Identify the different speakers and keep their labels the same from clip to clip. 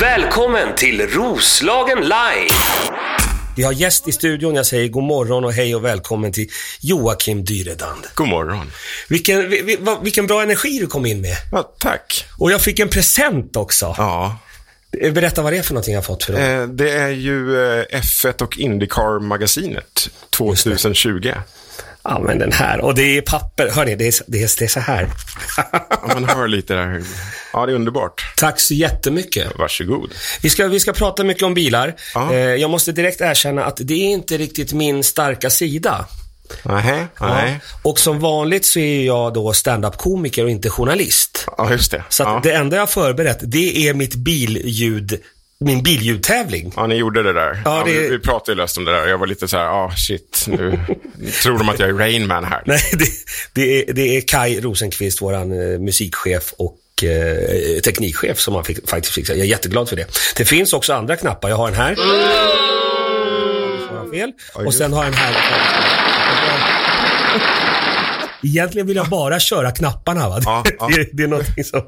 Speaker 1: Välkommen till Roslagen Live! Vi har gäst i studion. Jag säger god morgon och hej och välkommen till Joakim Dyredand.
Speaker 2: God morgon.
Speaker 1: Vilken, vi- vi- vad- vilken bra energi du kom in med.
Speaker 2: Ja, tack.
Speaker 1: Och jag fick en present också.
Speaker 2: Ja,
Speaker 1: Berätta vad det är för någonting jag fått för dem.
Speaker 2: eh, det är ju eh, F1 och Indycar-magasinet 2020.
Speaker 1: Ja, men den här. Och det är papper. Hörni, det är, det är, det är så här.
Speaker 2: Ja, man hör lite där. Ja, det är underbart.
Speaker 1: Tack så jättemycket.
Speaker 2: Varsågod.
Speaker 1: Vi ska, vi ska prata mycket om bilar.
Speaker 2: Ja.
Speaker 1: Eh, jag måste direkt erkänna att det är inte riktigt min starka sida.
Speaker 2: Nähä, nej.
Speaker 1: Och som vanligt så är jag då stand-up-komiker och inte journalist.
Speaker 2: Ja, just det.
Speaker 1: Så att
Speaker 2: ja.
Speaker 1: det enda jag har förberett, det är mitt billjud, min billjudtävling.
Speaker 2: Ja, ni gjorde det där.
Speaker 1: Ja,
Speaker 2: Ja,
Speaker 1: det-
Speaker 2: vi, vi pratade ju löst om det där. Jag var lite så här, ah shit, nu tror de att jag är Rainman här.
Speaker 1: Nej, det, det, är, det är Kai Rosenqvist, våran eh, musikchef och eh, teknikchef som han fick, faktiskt fixade. Jag är jätteglad för det. Det finns också andra knappar. Jag har den här. Om du svarar fel. Och sen har jag den här. Egentligen vill jag bara köra knapparna. Va?
Speaker 2: Ja, ja.
Speaker 1: Det, det är någonting som,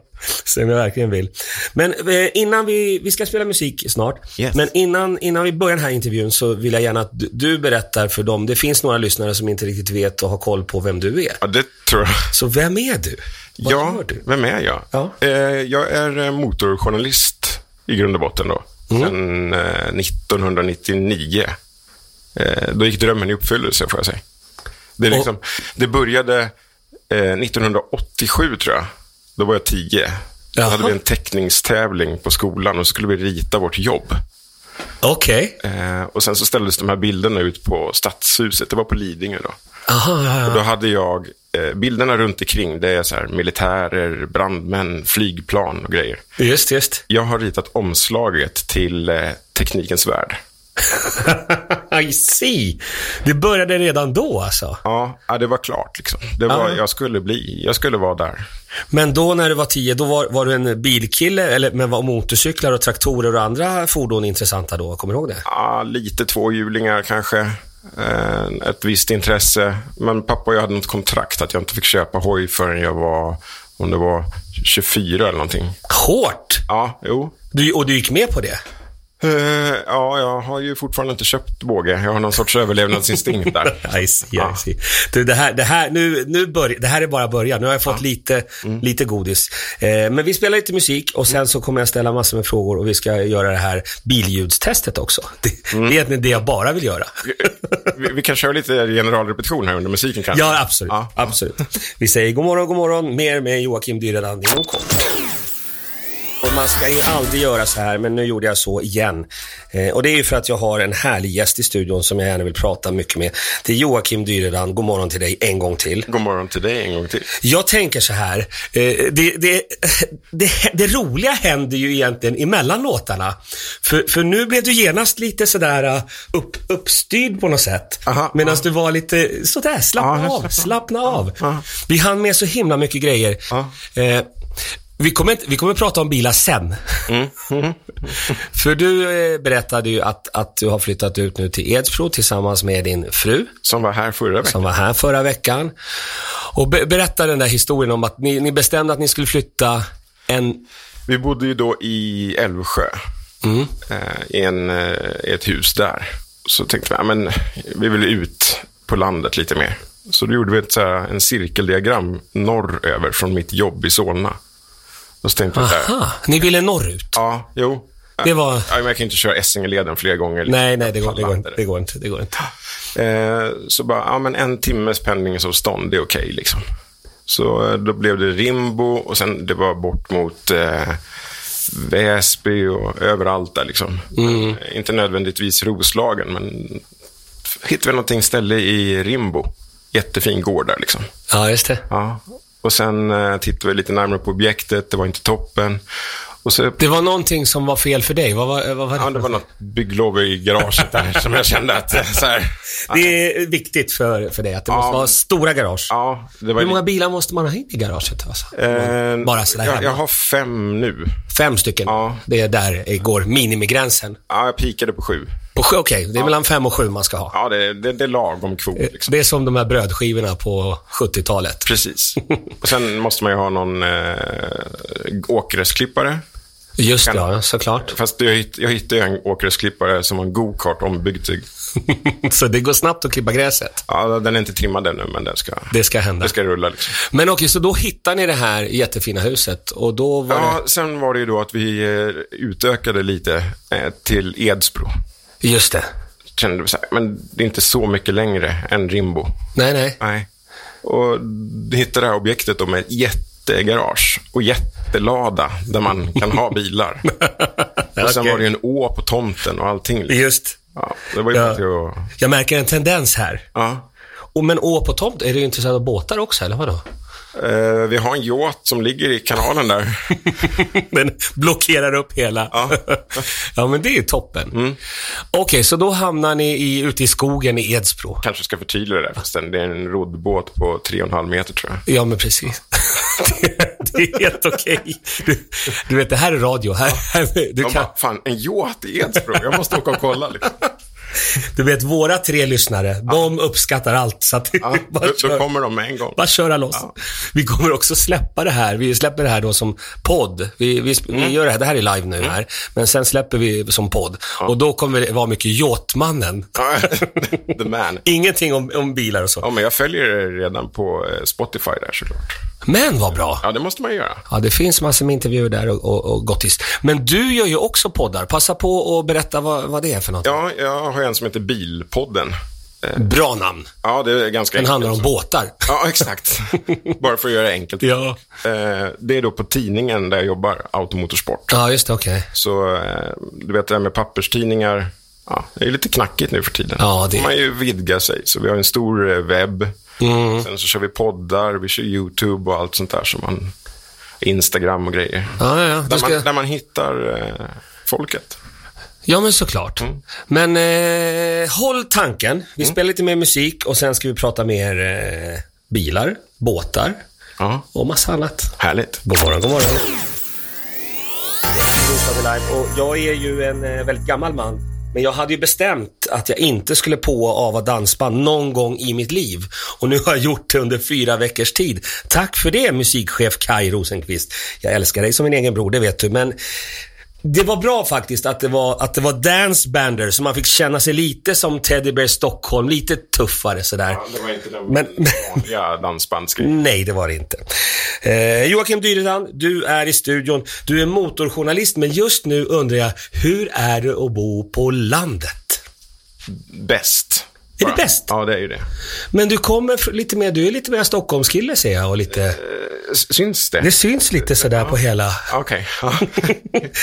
Speaker 1: som jag verkligen vill. Men eh, innan vi, vi ska spela musik snart.
Speaker 2: Yes.
Speaker 1: Men innan, innan vi börjar den här intervjun så vill jag gärna att du, du berättar för dem. Det finns några lyssnare som inte riktigt vet och har koll på vem du är.
Speaker 2: Ja, det tror jag.
Speaker 1: Så vem är du? Vad
Speaker 2: ja,
Speaker 1: gör du?
Speaker 2: vem är jag?
Speaker 1: Ja.
Speaker 2: Eh, jag är eh, motorjournalist i grund och botten då.
Speaker 1: Mm.
Speaker 2: Sen eh, 1999. Eh, då gick drömmen i uppfyllelse får jag säga. Det, är
Speaker 1: Och-
Speaker 2: liksom, det började eh, 1987 tror jag. Då var jag tio. Då
Speaker 1: Jaha.
Speaker 2: hade vi en teckningstävling på skolan och så skulle vi rita vårt jobb.
Speaker 1: Okej.
Speaker 2: Eh, och sen så ställdes de här bilderna ut på Stadshuset. Det var på Lidingö då.
Speaker 1: Aha, ja,
Speaker 2: Och
Speaker 1: ja.
Speaker 2: då hade jag eh, bilderna runt omkring. Det är så här militärer, brandmän, flygplan och grejer.
Speaker 1: Just, just.
Speaker 2: Jag har ritat omslaget till eh, Teknikens Värld.
Speaker 1: I see. Det började redan då alltså.
Speaker 2: Ja, ja, det var klart liksom. Det var,
Speaker 1: Ja.
Speaker 2: jag skulle bli, jag skulle vara där.
Speaker 1: Men då när du var tio, då var, var du en bilkille, eller, men var motorcyklar och traktorer och andra fordon intressanta då? Kommer du ihåg det?
Speaker 2: Ja, lite tvåhjulingar kanske. Eh, ett visst intresse. Men pappa och jag hade något kontrakt att jag inte fick köpa hoj förrän jag var, om det var 24 eller någonting.
Speaker 1: Hårt!
Speaker 2: Ja, jo.
Speaker 1: Du, och du gick med på det?
Speaker 2: Eh, ja, jag har ju fortfarande inte köpt båge. Jag har någon sorts överlevnadsinstinkt där.
Speaker 1: I see, I
Speaker 2: Ja.
Speaker 1: see. Du, det, här, det, här, nu, nu börj, det här är bara början. Nu har jag fått lite, lite godis. Eh, men vi spelar lite musik och sen så kommer jag ställa massor med frågor och vi ska göra det här billjudstestet också. Det, det är egentligen det jag bara vill göra.
Speaker 2: Vi, vi kan köra lite generalrepetition här under musiken kanske.
Speaker 1: Ja, absolut.
Speaker 2: Ja.
Speaker 1: absolut. Vi säger god morgon, god morgon. Mer med Joakim Dyredand i OK. Och man ska ju aldrig göra så här, men nu gjorde jag så igen. Eh, och det är ju för att jag har en härlig gäst i studion som jag gärna vill prata mycket med. Det är Joakim Dyredand. God morgon till dig en gång till.
Speaker 2: God morgon till dig en gång till.
Speaker 1: Jag tänker så här, eh, det, det, det, det roliga händer ju egentligen emellan låtarna. För, för nu blev du genast lite sådär eh, upp, uppstyrd på något sätt.
Speaker 2: Aha,
Speaker 1: Medan du var lite sådär, slappna
Speaker 2: Ja, jag
Speaker 1: av,
Speaker 2: slappnar
Speaker 1: slappna av. Vi hann med så himla mycket grejer. Eh, vi kommer, inte- vi kommer prata om bilar sen.
Speaker 2: Mm.
Speaker 1: För du eh, berättade ju att, att du har flyttat ut nu till Edsbro tillsammans med din fru
Speaker 2: Som var här förra veckan.
Speaker 1: som var här förra veckan. Och be- berätta den där historien om att ni, ni bestämde att ni skulle flytta en...
Speaker 2: Vi bodde ju då i Älvsjö.
Speaker 1: Mm.
Speaker 2: Eh, I en, eh, i ett hus där. Så tänkte vi, ja, men vi vill ut på landet lite mer. Så då gjorde vi ett, så här, en cirkeldiagram norröver från mitt jobb i Solna. Och så tänkte jag, så här,
Speaker 1: Aha, ni ville norrut.
Speaker 2: ja, jo.
Speaker 1: Ah. Det var...
Speaker 2: Ja, men jag kan inte köra Essingeleden flera gånger.
Speaker 1: Nej, nej, det går, det går inte.
Speaker 2: Pallar.
Speaker 1: Det går inte, det går inte.
Speaker 2: Eh, så bara, ja men en timmes pendlingsavstånd, det är okej liksom. Så eh, då blev det Rimbo och sen det var bort mot eh, Väsby och överallt där liksom.
Speaker 1: Mm.
Speaker 2: Eh, Inte nödvändigtvis Roslagen, men hittade vi någonting ställe i Rimbo. Jättefin gård där liksom.
Speaker 1: Ja, just det.
Speaker 2: Ja. Och sen eh, tittade vi lite närmare på objektet, det var inte toppen. Och så
Speaker 1: Det var någonting som var fel för dig. Vad var, vad var det?
Speaker 2: Ja, det var något bygglov i garaget där som jag kände att... eh, Så här,
Speaker 1: Det är viktigt för, för dig att det måste
Speaker 2: Ja.
Speaker 1: vara stora garage.
Speaker 2: ja, det var
Speaker 1: Hur många bilar måste man ha in i garaget? Alltså?
Speaker 2: Eh,
Speaker 1: Bara sådär
Speaker 2: jag,
Speaker 1: hemma.
Speaker 2: jag har fem nu.
Speaker 1: Fem stycken.
Speaker 2: Ja.
Speaker 1: Det är där går minimigränsen.
Speaker 2: Ja, jag pikade på sju.
Speaker 1: På sju- Okej, det är mellan fem och sju man ska ha.
Speaker 2: Ja, det, det, det är lagom kvot. Liksom.
Speaker 1: Det är som de här brödskivorna på 70-talet.
Speaker 2: Precis. Och sen måste man ju ha någon eh, åkgräsklippare.
Speaker 1: Just det, ja, såklart.
Speaker 2: Fast jag, hitt, jag hittade ju en åkgräsklippare som var en go-kart ombyggd till...
Speaker 1: Så det går snabbt att klippa gräset.
Speaker 2: Ja, den är inte trimmad ännu, men den ska,
Speaker 1: Det ska hända.
Speaker 2: den ska rulla. Liksom.
Speaker 1: Men okej, så då hittar ni det här jättefina huset och då var
Speaker 2: Ja, sen var det ju då att vi eh, utökade lite eh, till Edsbro.
Speaker 1: det... Just det.
Speaker 2: Kände vi så här, men det är inte så mycket längre än Rimbo.
Speaker 1: Nej, nej.
Speaker 2: Nej. Och hittade det här objektet då med ett jättegarage och jättelada där man kan ha bilar. Och sen
Speaker 1: Okej.
Speaker 2: var det ju en å på tomten och allting. Liksom.
Speaker 1: Just.
Speaker 2: Ja, det var ju
Speaker 1: Ja.
Speaker 2: bara till att...
Speaker 1: Jag märker en tendens här.
Speaker 2: Ja.
Speaker 1: Och, men å på tomt, är det ju intresserad av båtar också, eller vadå?
Speaker 2: Eh, vi har en yacht som ligger i kanalen där.
Speaker 1: Den blockerar upp hela.
Speaker 2: Ja. Mm.
Speaker 1: ja, men det är ju toppen. Okej, så då hamnar ni i, ute i skogen i Edsbro.
Speaker 2: Kanske ska förtydliga det där förresten. Det är en roddbåt på 3,5 meter tror jag.
Speaker 1: Ja, men precis. det, det är helt okej. Du, du vet, det här är radio. Här, här, du,
Speaker 2: De
Speaker 1: kan,
Speaker 2: bara, fan, en yacht i Edsbro? Jag måste åka och kolla. Liksom.
Speaker 1: du vet, våra tre lyssnare, de uppskattar allt. Så att,
Speaker 2: Ja,
Speaker 1: bara,
Speaker 2: då, då
Speaker 1: kör,
Speaker 2: kommer de med en gång.
Speaker 1: bara köra loss. Vi kommer också släppa det här. Vi släpper det här då som podd. Vi, vi, sp-
Speaker 2: Mm.
Speaker 1: vi gör det här. Det här är live nu här. Men sen släpper vi som podd. Och då kommer det vara mycket Jåtmannen.
Speaker 2: Ja, The man.
Speaker 1: Ingenting om, om bilar och så.
Speaker 2: Ja, men jag följer er redan på eh, Spotify där såklart.
Speaker 1: Men vad bra.
Speaker 2: Ja, det måste man ju göra.
Speaker 1: Ja, det finns massor med intervjuer där och, och, och gottis. Men du gör ju också poddar. Passa på att berätta vad, vad det är för något.
Speaker 2: Ja, jag har en som heter Bilpodden. Eh,
Speaker 1: Bra namn.
Speaker 2: Ja, det är ganska
Speaker 1: Den handlar om båtar.
Speaker 2: Ja, exakt. Bara för att göra det enkelt.
Speaker 1: Ja.
Speaker 2: Eh, Det är då på tidningen där jag jobbar, Automotorsport.
Speaker 1: Ja, just det. Okej.
Speaker 2: Så eh, du vet det här med papperstidningar. Ja, det är lite knackigt nu för tiden.
Speaker 1: Ja, det-
Speaker 2: Får Man ju vidga sig. Så vi har en stor eh, webb.
Speaker 1: Mm.
Speaker 2: Sen så kör vi poddar, vi kör YouTube och allt sånt där. Som man, Instagram och grejer.
Speaker 1: Ja, ja, ja. Då
Speaker 2: Där,
Speaker 1: ska...
Speaker 2: man, där man hittar eh, folket.
Speaker 1: ja, men såklart. Men eh, håll tanken. Vi spelar lite mer musik och sen ska vi prata mer eh, bilar, båtar
Speaker 2: Ja,
Speaker 1: och massa annat.
Speaker 2: härligt.
Speaker 1: God morgon, god morgon. Och jag är ju en eh, väldigt gammal man. Men jag hade ju bestämt att jag inte skulle på och ava dansband någon gång i mitt liv. Och nu har jag gjort det under fyra veckors tid. Tack för det musikchef Kai Rosenqvist. Jag älskar dig som min egen bror, det vet du. Men det var bra faktiskt att det var, att det var dancebander så man fick känna sig lite som Teddy Bear Stockholm, lite tuffare sådär.
Speaker 2: Det var inte den
Speaker 1: Men-
Speaker 2: vanliga dansbandsgrejen.
Speaker 1: Nej, det var det inte. Eh, Joakim Dyredand, du är i studion. Du är motorjournalist, men just nu undrar jag, hur är det att bo på landet?
Speaker 2: Bäst.
Speaker 1: Är det
Speaker 2: Bara.
Speaker 1: bäst?
Speaker 2: Ja, det är ju det.
Speaker 1: Men du kommer fr- lite mer, du är lite mer Stockholmskille ser jag och lite,
Speaker 2: S- Syns det?
Speaker 1: det syns lite sådär på hela...
Speaker 2: Okej. Ja.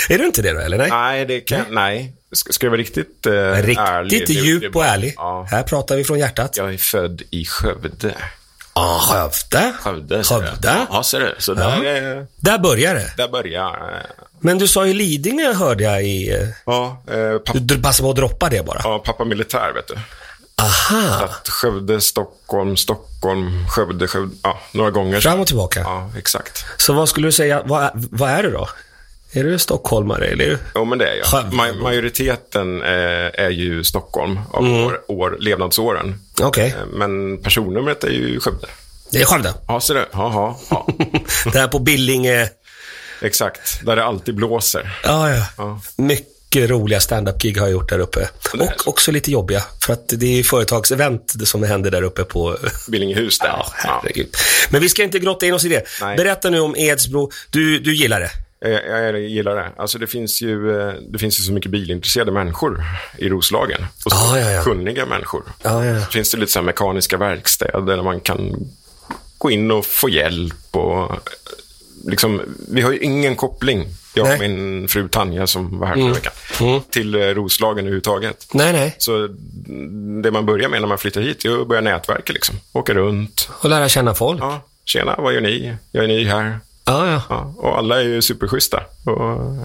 Speaker 1: är du inte det då, eller? Nej?
Speaker 2: Nej, det kan... Nej. Ska, ska jag vara riktigt eh, ärlig?
Speaker 1: Riktigt
Speaker 2: Det- det-
Speaker 1: djup och ärlig.
Speaker 2: Ja.
Speaker 1: Här pratar vi från hjärtat.
Speaker 2: Jag är född i Skövde.
Speaker 1: Ah, Skövde.
Speaker 2: Skövde. ser du.
Speaker 1: Skövde.
Speaker 2: Ja, ser du. Så där, eh,
Speaker 1: Där börjar det.
Speaker 2: där börjar... eh,
Speaker 1: Men du sa ju Lidingö hörde jag i... eh,
Speaker 2: Ja, eh, pappa,
Speaker 1: Du dr- passade på att droppa det bara.
Speaker 2: ja, pappa militär, vet du.
Speaker 1: Aha.
Speaker 2: Att Skövde, Stockholm, Stockholm, Skövde, Skövde. Ja, några gånger.
Speaker 1: Fram och tillbaka.
Speaker 2: Ja, exakt.
Speaker 1: Så vad skulle du säga, vad, vad är du då? Är du stockholmare eller? är du-
Speaker 2: Jo, men det är jag.
Speaker 1: Skövde.
Speaker 2: Ma- majoriteten eh, är ju Stockholm av
Speaker 1: Mm.
Speaker 2: år, år, levnadsåren.
Speaker 1: Okej,
Speaker 2: Eh, Men personnumret är ju Skövde.
Speaker 1: det är Skövde.
Speaker 2: Ja, ser du. Ja, ja, ja.
Speaker 1: Där på Billinge.
Speaker 2: Exakt. Där det alltid blåser.
Speaker 1: Ja, ja. Mycket roliga stand-up-gig har jag gjort där uppe. Och också lite jobbiga, för att det är ju företagsevent som händer där uppe på...
Speaker 2: Billingehus där.
Speaker 1: Ja, herregud. Men vi ska inte grotta in oss i det.
Speaker 2: Nej.
Speaker 1: Berätta nu om Edsbro. Du, du gillar det?
Speaker 2: Ja, Jag, jag gillar det. Alltså det, finns ju, eh, det finns ju så mycket bilintresserade människor i Roslagen. Och så
Speaker 1: Ja, ja, ja.
Speaker 2: kunniga människor.
Speaker 1: Ja, ja.
Speaker 2: Så finns det lite så här mekaniska verkstäder där man kan gå in och få hjälp. Och, eh, liksom, vi har ju ingen koppling, jag och
Speaker 1: Nej. Mm.
Speaker 2: min fru Tanja som var här förra veckan, till eh, Roslagen överhuvudtaget.
Speaker 1: Nej, nej.
Speaker 2: Så det man börjar med när man flyttar hit är att börja nätverka. Liksom. Åka runt.
Speaker 1: Och lära känna folk. Ja,
Speaker 2: Ja, tjena, vad gör ni? Jag är ny här.
Speaker 1: ja.
Speaker 2: Ja, och alla är ju superschyssta. Och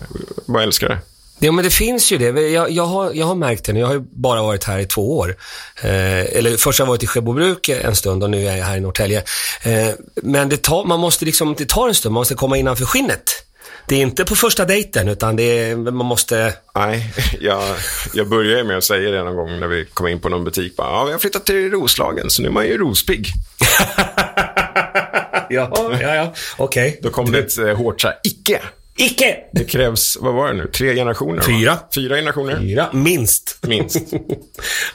Speaker 2: bara älskar det.
Speaker 1: Ja, men det finns ju det. Jag, jag, har, jag har märkt det nu. Jag har ju bara varit här i två år. Eh, eller först har jag varit i Skebobruk en stund och nu är jag här i Norrtälje. Eh, men det tar, man måste liksom, det tar en stund. Man måste komma innanför skinnet. Det är inte på första dejten, utan det är, man måste...
Speaker 2: Nej, jag, jag började med att säga det någon gång när vi kom in på någon butik. Bara, ja, vi har flyttat till Roslagen, så nu är man ju rospigg.
Speaker 1: Ja, ja, ja. Okej.
Speaker 2: Då kom det ett eh, hårt så här, icke.
Speaker 1: Icke!
Speaker 2: Det krävs, vad var det nu, tre generationer? va?
Speaker 1: Fyra.
Speaker 2: Fyra generationer,
Speaker 1: Fyra, minst.
Speaker 2: minst.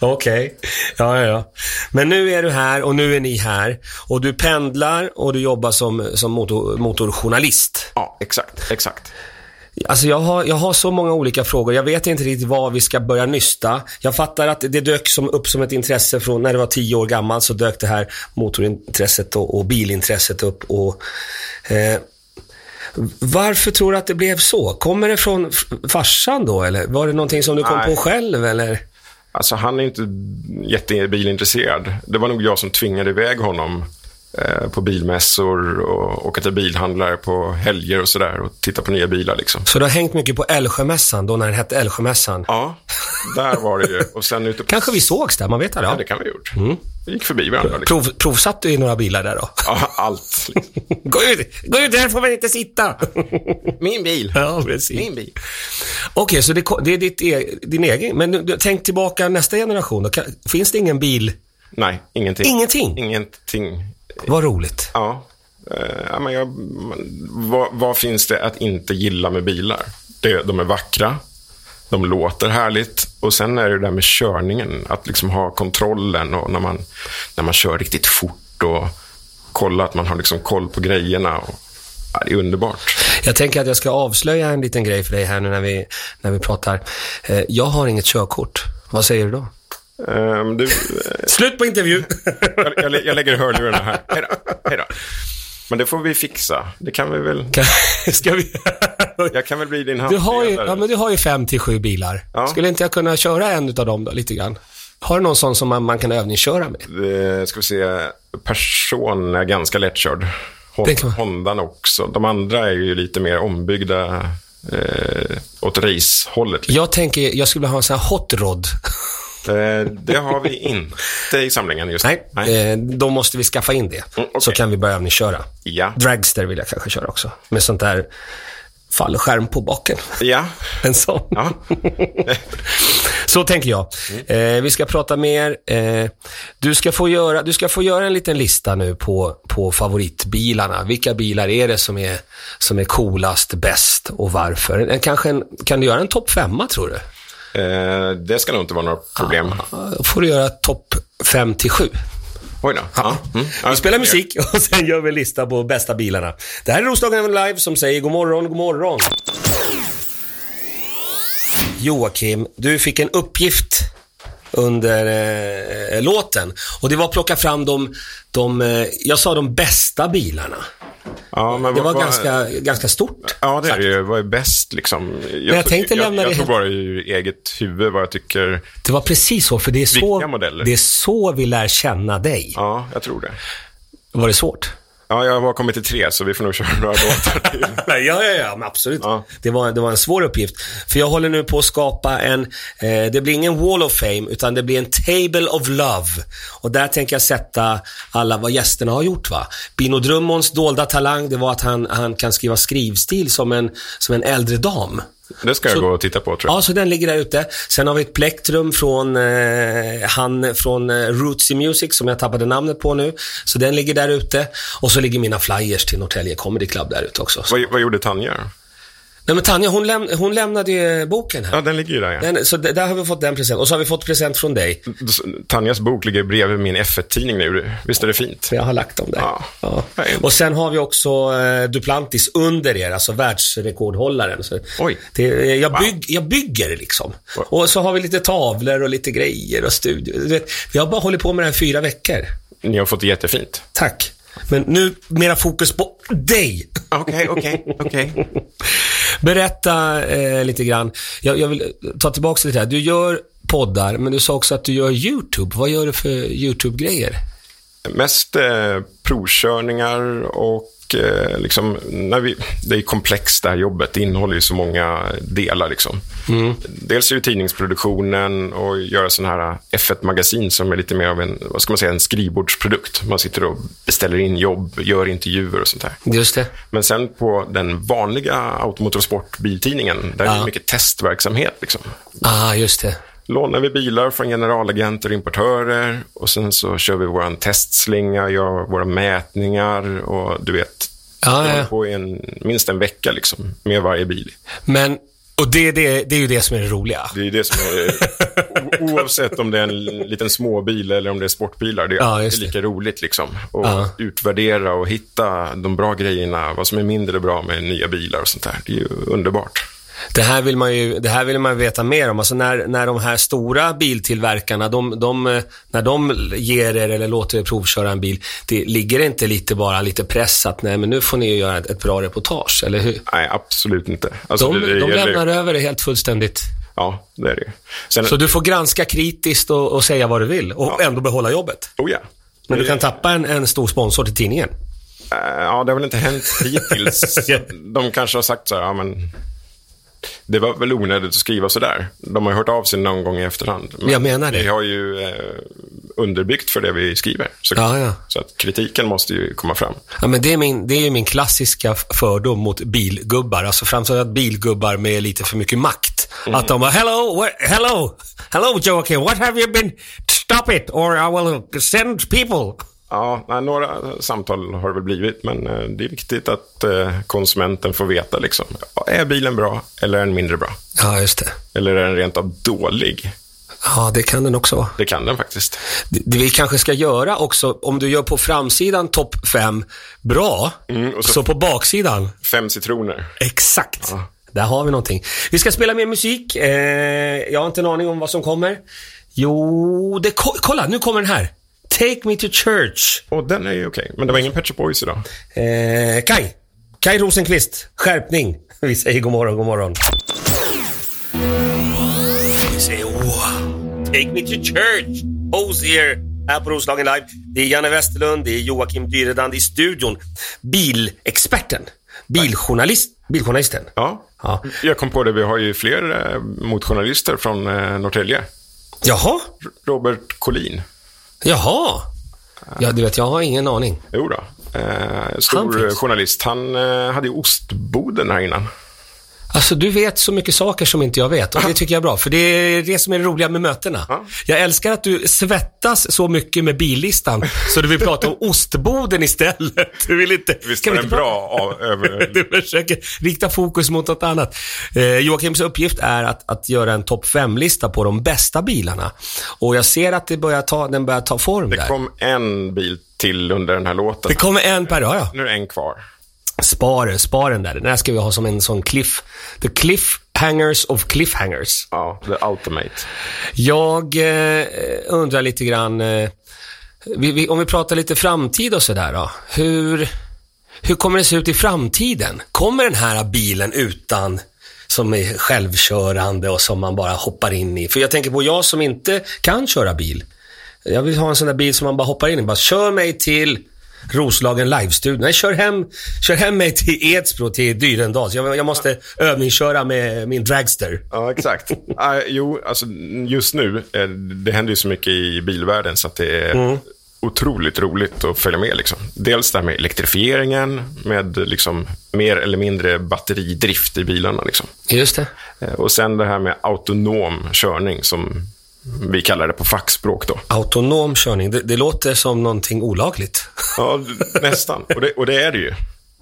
Speaker 1: Okej. Ja, ja, ja. Men nu är du här och nu är ni här. Och du pendlar och du jobbar som, som motor, motorjournalist.
Speaker 2: Ja, exakt, exakt.
Speaker 1: Alltså jag har, jag har så många olika frågor. Jag vet inte riktigt var vi ska börja nysta. Jag fattar att det dök som, upp som ett intresse från när du var tio år gammal så dök det här motorintresset och, och bilintresset upp. Och, eh, varför tror du att det blev så? Kommer det från f- farsan då eller? Var det någonting som du kom
Speaker 2: Nej.
Speaker 1: på själv eller?
Speaker 2: Alltså han är inte jättebilintresserad. Det var nog jag som tvingade iväg honom eh, på bilmässor och åka till bilhandlare på helger och sådär och titta på nya bilar liksom.
Speaker 1: Så du har hängt mycket på Älvsjömässan då när den hette Älvsjömässan?
Speaker 2: Ja, där var det ju. Och sen ute på...
Speaker 1: Kanske vi sågs där, man vet aldrig.
Speaker 2: Ja,
Speaker 1: Ja.
Speaker 2: det kan vi ha gjort. Vi gick förbi varandra. Liksom.
Speaker 1: Prov, provsatt du i några bilar där då?
Speaker 2: Ja, allt. Liksom.
Speaker 1: Gå ut! Gå ut, här får man inte sitta!
Speaker 2: Min bil.
Speaker 1: ja, precis.
Speaker 2: bil.
Speaker 1: Okej, så det, ko- det är ditt e, din egen. Men du, du, tänk tillbaka nästa generation då. Kan, finns det ingen bil?
Speaker 2: Nej, ingenting.
Speaker 1: Ingenting?
Speaker 2: Ingenting.
Speaker 1: Vad roligt.
Speaker 2: Ja. Eh, ja, men jag, man- vad, vad finns det att inte gilla med bilar? Det, de är vackra, de låter härligt och sen är det det där med körningen. Att liksom ha kontrollen och när man, när man kör riktigt fort och kolla att man har liksom koll på grejerna. Och, ja, det är underbart.
Speaker 1: Jag tänker att jag ska avslöja en liten grej för dig här nu när vi, när vi pratar. Eh, jag har inget körkort. Vad säger du då?
Speaker 2: Ehm, du, eh,
Speaker 1: Slut på intervjun!
Speaker 2: jag, jag, lä- jag lägger hörlurarna här. Hej då, hej då. Men det får vi fixa. Det kan vi väl.
Speaker 1: Kan- ska vi...
Speaker 2: Jag kan väl bli din
Speaker 1: Du har, ju, ja,
Speaker 2: handledare.
Speaker 1: men du har ju fem till sju bilar.
Speaker 2: Ja.
Speaker 1: Skulle inte jag kunna köra en utav dem då, lite grann? Har du någon sån som man, man kan övningsköra med?
Speaker 2: Eh, ska vi se, Person är ganska lättkörd. Hon,
Speaker 1: Det kan man-
Speaker 2: Hondan också. De andra är ju lite mer ombyggda eh, åt racehållet.
Speaker 1: Jag tänker, jag skulle vilja ha en sån här hot rod.
Speaker 2: Eh, det har vi inte i samlingen just nu.
Speaker 1: Nej, Eh, då måste vi skaffa in det.
Speaker 2: Mm, okej.
Speaker 1: Så kan vi börja övningsköra.
Speaker 2: Ja.
Speaker 1: Dragster vill jag kanske köra också. Med sånt där fallskärm på baken.
Speaker 2: Ja.
Speaker 1: En sån.
Speaker 2: ja.
Speaker 1: Så tänker jag. Eh, vi ska prata mer. Eh, du, ska få göra, du ska få göra en liten lista nu på, på favoritbilarna. Vilka bilar är det som är, som är coolast, bäst och varför? En, kanske en, kan du göra en topp femma, tror du?
Speaker 2: Eh, det ska nog inte vara några
Speaker 1: Ah.
Speaker 2: problem.
Speaker 1: Då får du göra topp fem till sju.
Speaker 2: Oj då. Ja. Mm. Ja,
Speaker 1: Vi spelar musik och sen gör vi en lista på bästa bilarna. Det här är Roslagen Live som säger god morgon, god morgon. Joakim, du fick en uppgift under eh, låten och det var att plocka fram de, de eh, jag sa de bästa bilarna.
Speaker 2: Ja, men
Speaker 1: Det var
Speaker 2: vad- vad-
Speaker 1: ganska, ganska stort.
Speaker 2: Ja, det är det ju. Vad är bäst liksom? Jag,
Speaker 1: jag
Speaker 2: tror-
Speaker 1: tänkte
Speaker 2: jag,
Speaker 1: lämna
Speaker 2: jag,
Speaker 1: det
Speaker 2: tror
Speaker 1: helt-
Speaker 2: bara ur eget huvud vad jag tycker.
Speaker 1: Det var precis så, för det är
Speaker 2: Vilka
Speaker 1: så,
Speaker 2: modeller?
Speaker 1: det är så vi lär känna dig.
Speaker 2: Ja, jag tror det.
Speaker 1: Var det svårt?
Speaker 2: Ja, jag har kommit till tre, så vi får nog köra några låtar till.
Speaker 1: ja, ja, ja, men absolut.
Speaker 2: Ja.
Speaker 1: Det, var, det var en svår uppgift. För jag håller nu på att skapa en, eh, det blir ingen wall of fame, utan det blir en table of love. Och där tänker jag sätta alla vad gästerna har gjort. va Bino Drummons dolda talang, det var att han, han kan skriva skrivstil som en, som en äldre dam.
Speaker 2: Det ska jag gå och titta på, tror jag.
Speaker 1: Ja, så den ligger där ute. Sen har vi ett plektrum från eh, han från eh, Rootsy Music som jag tappade namnet på nu. Så den ligger där ute. Och så ligger mina flyers till Norrtälje Comedy Club där ute också.
Speaker 2: Vad, vad gjorde Tanja?
Speaker 1: Nej men Tanja, hon, läm- hon lämnade ju boken här.
Speaker 2: Ja, den ligger ju där. Ja.
Speaker 1: Den, så d- där har vi fått den present. Och så har vi fått present från dig.
Speaker 2: Tanjas bok ligger bredvid min F1-tidning nu. Visst är det fint?
Speaker 1: Jag har lagt dem där.
Speaker 2: Ja.
Speaker 1: Ja. Och sen har vi också eh, Duplantis under er, alltså världsrekordhållaren. Så
Speaker 2: Oj.
Speaker 1: Det, eh, jag, bygg, jag bygger liksom. Och så har vi lite tavlor och lite grejer och studio. Du vet, jag har bara hållit på med det här fyra veckor.
Speaker 2: Ni har fått det jättefint.
Speaker 1: Tack. Men nu, mera fokus på dig.
Speaker 2: Okej, okej, okej.
Speaker 1: Berätta eh, lite grann. Jag, jag vill ta tillbaka lite här. Du gör poddar, men du sa också att du gör YouTube. Vad gör du för YouTube-grejer?
Speaker 2: Mest eh, provkörningar och eh, liksom, när vi, det är komplext det här jobbet. Det innehåller ju så många delar. Liksom.
Speaker 1: Mm.
Speaker 2: Dels är ju tidningsproduktionen och göra sådana här F1-magasin som är lite mer av en, vad ska man säga, en skrivbordsprodukt. Man sitter och beställer in jobb, gör intervjuer och sånt där.
Speaker 1: Just det.
Speaker 2: Men sen på den vanliga Automotor och Sport biltidningen, där är det mycket testverksamhet. Liksom.
Speaker 1: Ah, just det.
Speaker 2: Lånar vi bilar från generalagenter och importörer och sen så kör vi vår testslinga, gör våra mätningar och du vet, Jag
Speaker 1: Ja,
Speaker 2: håller
Speaker 1: ja.
Speaker 2: på i en, minst en vecka liksom, med varje bil.
Speaker 1: Men, och det, det, det är ju det som är det roliga.
Speaker 2: Det är det som är, o- oavsett om det är en liten småbil eller om det är sportbilar, det är
Speaker 1: Ja,
Speaker 2: alltid
Speaker 1: just det.
Speaker 2: lika roligt. Liksom. Och
Speaker 1: Ja.
Speaker 2: utvärdera och hitta de bra grejerna, vad som är mindre bra med nya bilar och sånt där. Det är ju underbart.
Speaker 1: Det här vill man ju det här vill man veta mer om. Alltså när, när de här stora biltillverkarna, de, de, eh, när de ger er eller låter er provköra en bil, det ligger det inte lite bara lite press att nej, men nu får ni ju göra ett, ett bra reportage, eller hur?
Speaker 2: Nej, absolut inte. Alltså,
Speaker 1: De,
Speaker 2: det- det
Speaker 1: de
Speaker 2: gäller ju-
Speaker 1: lämnar över det helt fullständigt.
Speaker 2: Ja, det är det ju. Sen,
Speaker 1: Så du får granska kritiskt och, och säga vad du vill och ändå behålla jobbet.
Speaker 2: oh ja.
Speaker 1: Men du
Speaker 2: Det-
Speaker 1: kan tappa en, en stor sponsor till tidningen.
Speaker 2: Eh, Ja, det har väl inte hänt hittills.
Speaker 1: Ja.
Speaker 2: De kanske har sagt så här, ja men... Det var väl onödigt att skriva så där. De har ju hört av sig någon gång i efterhand. Men
Speaker 1: Jag menar det.
Speaker 2: Vi har ju eh, underbyggt för det vi skriver. Så,
Speaker 1: Ja, ja.
Speaker 2: så att kritiken måste ju komma fram.
Speaker 1: Ja, men det, är min, det är ju min klassiska f- fördom mot bilgubbar. Alltså framförallt bilgubbar med lite för mycket makt. Att de bara “Hello, where, hello, hello Joakim, what have you been... Stop it or I will send people”.
Speaker 2: Ja, nej, några samtal har det väl blivit, men eh, det är viktigt att eh, konsumenten får veta. Liksom, Ja, är bilen bra eller är den mindre bra?
Speaker 1: Ja, just det.
Speaker 2: Eller är den rent av dålig?
Speaker 1: Ja, det kan den också vara.
Speaker 2: Det kan den faktiskt.
Speaker 1: Det, det vi kanske ska göra också, om du gör på framsidan topp fem bra,
Speaker 2: och
Speaker 1: Mm, så...
Speaker 2: så-
Speaker 1: på baksidan,
Speaker 2: Fem citroner.
Speaker 1: exakt. Där har vi någonting. Vi ska spela mer musik. Eh, jag har inte en aning om vad som kommer. Jo, det, ko- kolla nu kommer den här. Take me to church.
Speaker 2: Och den är ju okej, men det var ingen Pet Shop Boys idag.
Speaker 1: Eh, Kai. Kai Rosenqvist. Skärpning. Vi säger god morgon, god morgon. Vi säger wow. Take me to church. O's here. Här på Roslagen Live. Det är Janne Westerlund, det är Joakim Dyredand i studion. Bilexperten. Biljournalist, biljournalisten.
Speaker 2: Ja.
Speaker 1: Ja.
Speaker 2: jag kom på det. Vi har ju fler eh, motjournalister från eh, Norrtälje.
Speaker 1: Jaha.
Speaker 2: R- Robert Collin.
Speaker 1: Jaha. Ja, du vet, jag har ingen aning.
Speaker 2: Jo då. Eh, stor
Speaker 1: finns.
Speaker 2: journalist. Han eh, hade ju ostboden här innan.
Speaker 1: Alltså, du vet så mycket saker som inte jag vet och det tycker jag är bra, för det är det som är det roliga med mötena.
Speaker 2: Ja.
Speaker 1: Jag älskar att du svettas så mycket med billistan, så du vill prata om ostboden istället. Du vill inte...
Speaker 2: Visst
Speaker 1: kan
Speaker 2: var
Speaker 1: vi inte
Speaker 2: den
Speaker 1: prata-
Speaker 2: bra av, över...
Speaker 1: Du försöker rikta fokus mot något annat. Eh, Joakims uppgift är att, att göra en topp 5-lista på de bästa bilarna. Och jag ser att det börjar ta, den börjar ta form
Speaker 2: Det
Speaker 1: där.
Speaker 2: kom en bil till under den här låten.
Speaker 1: Det kommer en per dag, ja.
Speaker 2: Nu är det en kvar.
Speaker 1: Spar, spar den där. Den här ska vi ha som en sån cliff... The cliffhangers of cliffhangers.
Speaker 2: Ja, The Ultimate.
Speaker 1: Jag eh, undrar lite grann, eh, vi, vi, om vi pratar lite framtid och sådär då. Hur, hur kommer det se ut i framtiden? Kommer den här bilen utan som är självkörande och som man bara hoppar in i? För jag tänker på jag som inte kan köra bil. Jag vill ha en sån där bil som man bara hoppar in i. Bara kör mig till Roslagen live-studion. Nej, kör hem, kör hem mig till Edsbro, till Dyrendals. Jag, jag måste övningsköra med min dragster.
Speaker 2: Ja, exakt. Ah, jo, alltså just nu, eh, det händer ju så mycket i bilvärlden så att det är otroligt roligt att följa med. Liksom. Dels det här med elektrifieringen, med liksom, mer eller mindre batteridrift i bilarna. Liksom.
Speaker 1: Just det.
Speaker 2: Eh, och sen det här med autonom körning, som vi kallar det på fackspråk. Då.
Speaker 1: Autonom körning, det, det låter som någonting olagligt.
Speaker 2: Ja, nästan. Och det, och det är det ju.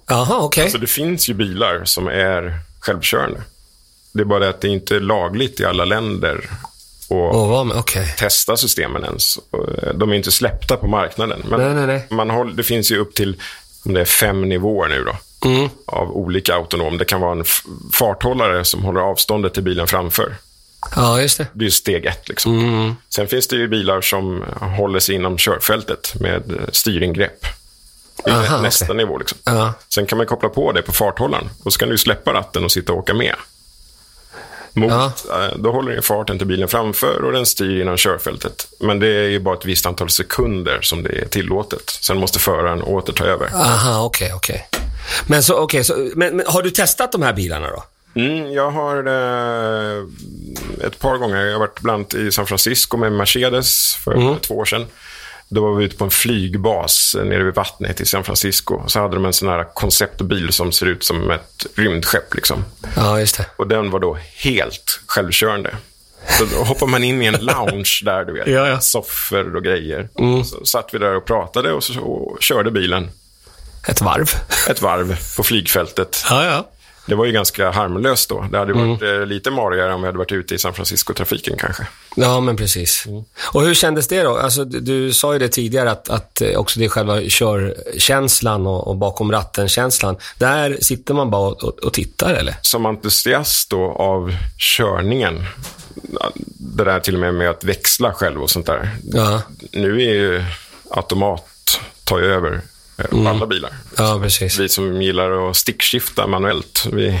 Speaker 1: Jaha, okej.
Speaker 2: Så det finns ju bilar som är självkörande. Det är bara det att det inte är lagligt i alla länder. Och
Speaker 1: Åh, vad- Okej.
Speaker 2: testa systemen ens. De är ju inte släppta på marknaden. Men
Speaker 1: Nej, nej, nej.
Speaker 2: Man håller, det finns ju upp till om det är fem nivåer nu då,
Speaker 1: Mm.
Speaker 2: av olika autonom. Det kan vara en f- farthållare som håller avståndet till bilen framför.
Speaker 1: Ja, just det.
Speaker 2: Det är ju steg ett. Liksom.
Speaker 1: Mm.
Speaker 2: Sen finns det ju bilar som håller sig inom körfältet med eh, styringgrepp. Det är
Speaker 1: Aha,
Speaker 2: nästa nivå. Liksom.
Speaker 1: Ja.
Speaker 2: Sen kan man koppla på det på farthållaren och så kan du ju släppa ratten och sitta och åka med. Mot,
Speaker 1: Ja.
Speaker 2: eh, Då håller den farten till bilen framför och den styr inom körfältet. Men det är ju bara ett visst antal sekunder som det är tillåtet. Sen måste föraren åter ta över.
Speaker 1: Aha, okej, okej. Men så, okej, så, men, men har du testat de här bilarna då?
Speaker 2: Mm, jag har eh, ett par gånger, jag har varit bland annat i San Francisco med Mercedes för två år sedan. Då var vi ute på en flygbas eh, nere vid vattnet i San Francisco. Så hade de en sån här konceptbil som ser ut som ett rymdskepp. Liksom.
Speaker 1: Ja, just det.
Speaker 2: Och den var då helt självkörande. Så då hoppar man in i en lounge där, du vet.
Speaker 1: Ja, Mm. ja.
Speaker 2: Soffor och grejer. Så satt vi där och pratade och så och körde bilen.
Speaker 1: Ett varv.
Speaker 2: ett varv på flygfältet.
Speaker 1: Ja, ja.
Speaker 2: Det var ju ganska harmlöst då. Det hade
Speaker 1: Mm.
Speaker 2: varit eh, lite marigare om vi hade varit ute i San Francisco-trafiken kanske.
Speaker 1: Ja, men precis. Mm. Och hur kändes det då? Alltså, du, du sa ju det tidigare att, att eh, också det är själva körkänslan och, och bakom ratten-känslan. Där sitter man bara och, och, och tittar, eller?
Speaker 2: Som entusiast då av körningen, det där till och med med att växla själv och sånt där.
Speaker 1: Ja,
Speaker 2: Nu är ju automat tar ju över eh,
Speaker 1: Mm.
Speaker 2: alla bilar.
Speaker 1: ja precis.
Speaker 2: Vi som gillar att stickskifta manuellt, vi,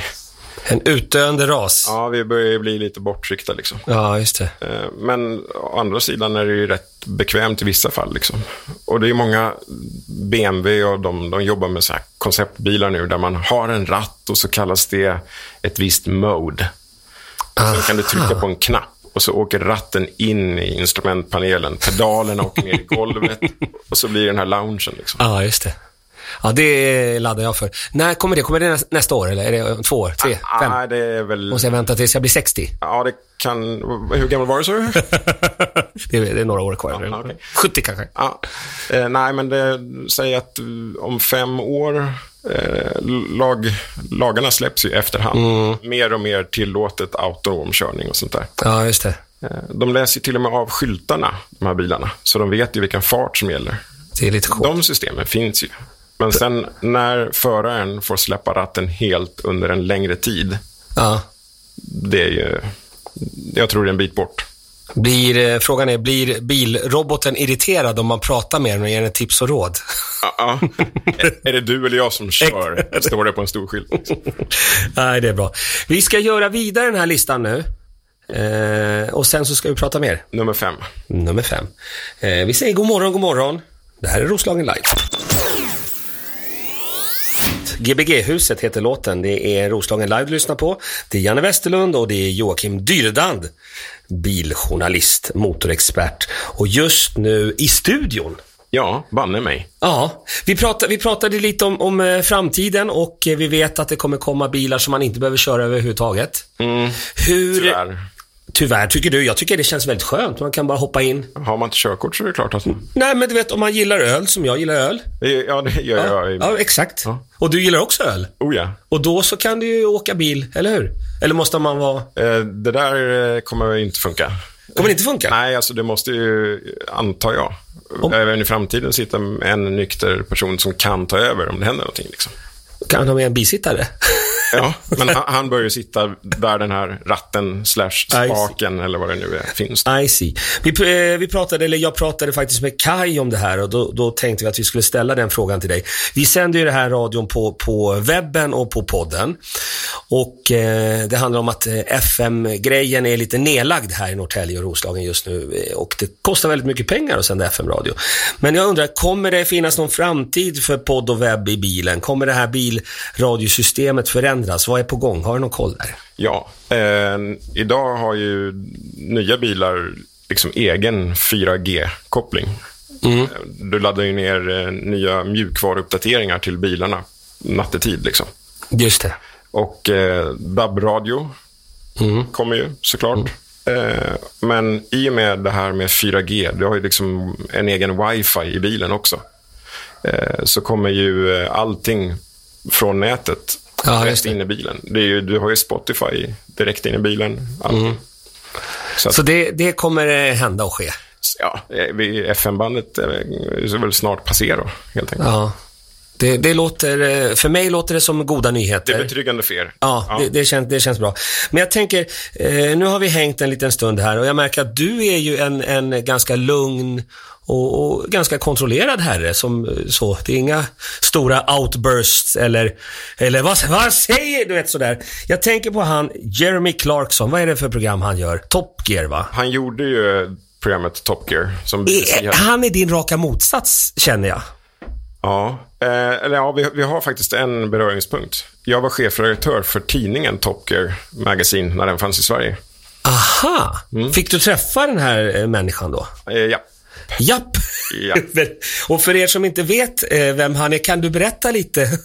Speaker 1: En utdöende ras.
Speaker 2: ja, vi börjar ju bli lite bortryckta liksom.
Speaker 1: Ja, just det.
Speaker 2: Eh, Men å andra sidan är det ju rätt bekvämt i vissa fall. Liksom. Och det är många BMW och de, de jobbar med så här konceptbilar nu där man har en ratt och så kallas det ett visst mode. Sen kan du trycka på en knapp och så åker ratten in i instrumentpanelen. Pedalerna åker ner i golvet och så blir det den här loungen. Liksom.
Speaker 1: Ja, just det. Ja, det laddar jag för. När kommer det? Kommer det nä- nästa år, eller är det om två år? Tre? Fem?
Speaker 2: Ah, det är väl...
Speaker 1: Måste jag vänta tills jag blir 60?
Speaker 2: Ja, det kan... Hur gammal var du, sa du?
Speaker 1: Det är, det är några år kvar.
Speaker 2: Ja, okej.
Speaker 1: 70 kanske?
Speaker 2: Ja. Eh, nej, men det, säg att eh, om fem år, eh, lag, lagarna släpps ju efterhand. Mer och mer tillåtet autonom körning och sånt där.
Speaker 1: Ja, just det.
Speaker 2: Eh, de läser ju till och med av skyltarna, de här bilarna. Så de vet ju vilken fart som gäller.
Speaker 1: Det är lite coolt.
Speaker 2: De systemen finns ju. Men sen när föraren får släppa ratten helt under en längre tid,
Speaker 1: Ja.
Speaker 2: det är ju, jag tror det är en bit bort.
Speaker 1: Blir, eh, frågan är, blir bilroboten irriterad om man pratar med den och ger den tips och råd?
Speaker 2: Ja, ja. Är- är det du eller jag som kör? Står det på en stor skylt. liksom.
Speaker 1: Nej, det är bra. Vi ska göra vidare den här listan nu. Eh, och sen så ska vi prata mer.
Speaker 2: Nummer fem.
Speaker 1: Nummer fem. Eh, vi säger god morgon, god morgon. Det här är Roslagen Live. Gbg-huset heter låten. Det är Roslagen Live du lyssnar på. Det är Janne Westerlund och det är Joakim Dyredand. Biljournalist, motorexpert och just nu i studion
Speaker 2: Ja, banne mig.
Speaker 1: Ja, vi pratade, vi pratade lite om, om eh, framtiden och eh, vi vet att det kommer komma bilar som man inte behöver köra överhuvudtaget. Hur, tyvärr.
Speaker 2: Mm. Tyvärr.
Speaker 1: tycker du. Jag tycker det känns väldigt skönt. Man kan bara hoppa in.
Speaker 2: Har man inte körkort så är det klart att...
Speaker 1: Nej, men du vet om man gillar öl, som jag gillar öl.
Speaker 2: Ja, det gör jag.
Speaker 1: Ja, exakt. Och du gillar också öl.
Speaker 2: Oh ja.
Speaker 1: Och då så kan du ju åka bil, eller hur? Eller måste man vara...
Speaker 2: Eh, Det där eh, kommer inte funka.
Speaker 1: Kommer det inte funka?
Speaker 2: Nej, alltså det måste ju, antar jag, även i framtiden sitta en nykter person som kan ta över om det händer någonting. Liksom.
Speaker 1: Kan ha med en bisittare?
Speaker 2: Ja, men han, han bör ju sitta där den här ratten slash
Speaker 1: I see.
Speaker 2: spaken eller vad det nu är finns.
Speaker 1: I see. Vi, eh, vi pratade, eller jag pratade faktiskt med Kai om det här och då, då tänkte vi att vi skulle ställa den frågan till dig. Vi sänder ju den här radion på, på webben och på podden. Och eh, det handlar om att eh, FM-grejen är lite nedlagd här i Norrtälje och Roslagen just nu eh, och det kostar väldigt mycket pengar att sända FM-radio. Men jag undrar, kommer det finnas någon framtid för podd och webb i bilen? Kommer det här bilradiosystemet förändras? Vad är på gång? Har du någon koll där?
Speaker 2: Ja, eh, idag har ju nya bilar liksom egen 4G-koppling. Du laddar ju ner eh, nya mjukvaruuppdateringar till bilarna nattetid. Liksom.
Speaker 1: Just det.
Speaker 2: Och eh, DAB-radio
Speaker 1: Mm.
Speaker 2: kommer ju såklart. Eh, men i och med det här med 4G, du har ju liksom en egen wifi i bilen också. Eh, så kommer ju eh, allting från nätet
Speaker 1: Ja, just
Speaker 2: direkt
Speaker 1: det.
Speaker 2: in i bilen. Det är ju, du har ju Spotify direkt in i bilen. Alltså, allting.
Speaker 1: Mm.
Speaker 2: Så att,
Speaker 1: Så det, det kommer eh, hända och ske?
Speaker 2: ja, eh, vi- FM-bandet eh, ska väl snart passera helt enkelt.
Speaker 1: Ja. Det, det låter, eh, för mig låter det som goda
Speaker 2: Det
Speaker 1: nyheter.
Speaker 2: är betryggande för er.
Speaker 1: Ja, Det, det, känns, det känns bra. Men jag tänker, eh, nu har vi hängt en liten stund här och jag märker att du är ju en, en ganska lugn och, och ganska kontrollerad herre. Som, eh, så. Det är inga stora outbursts eller, eller vad, vad säger du? Vet, sådär. Jag tänker på han Jeremy Clarkson. Vad är det för program han gör? Top Gear, va?
Speaker 2: Han gjorde ju programmet Top Gear. Som BBC
Speaker 1: Eh,
Speaker 2: hade.
Speaker 1: Han är din raka motsats, känner jag.
Speaker 2: Ja, eh, eller ja, vi, vi har faktiskt en beröringspunkt. Jag var chefredaktör för tidningen Top Gear Magazine när den fanns i Sverige.
Speaker 1: Aha!
Speaker 2: Mm.
Speaker 1: Fick du träffa den här eh, människan då?
Speaker 2: Eh, ja,
Speaker 1: Japp!
Speaker 2: Ja.
Speaker 1: och för er som inte vet eh, vem han är, kan du berätta lite,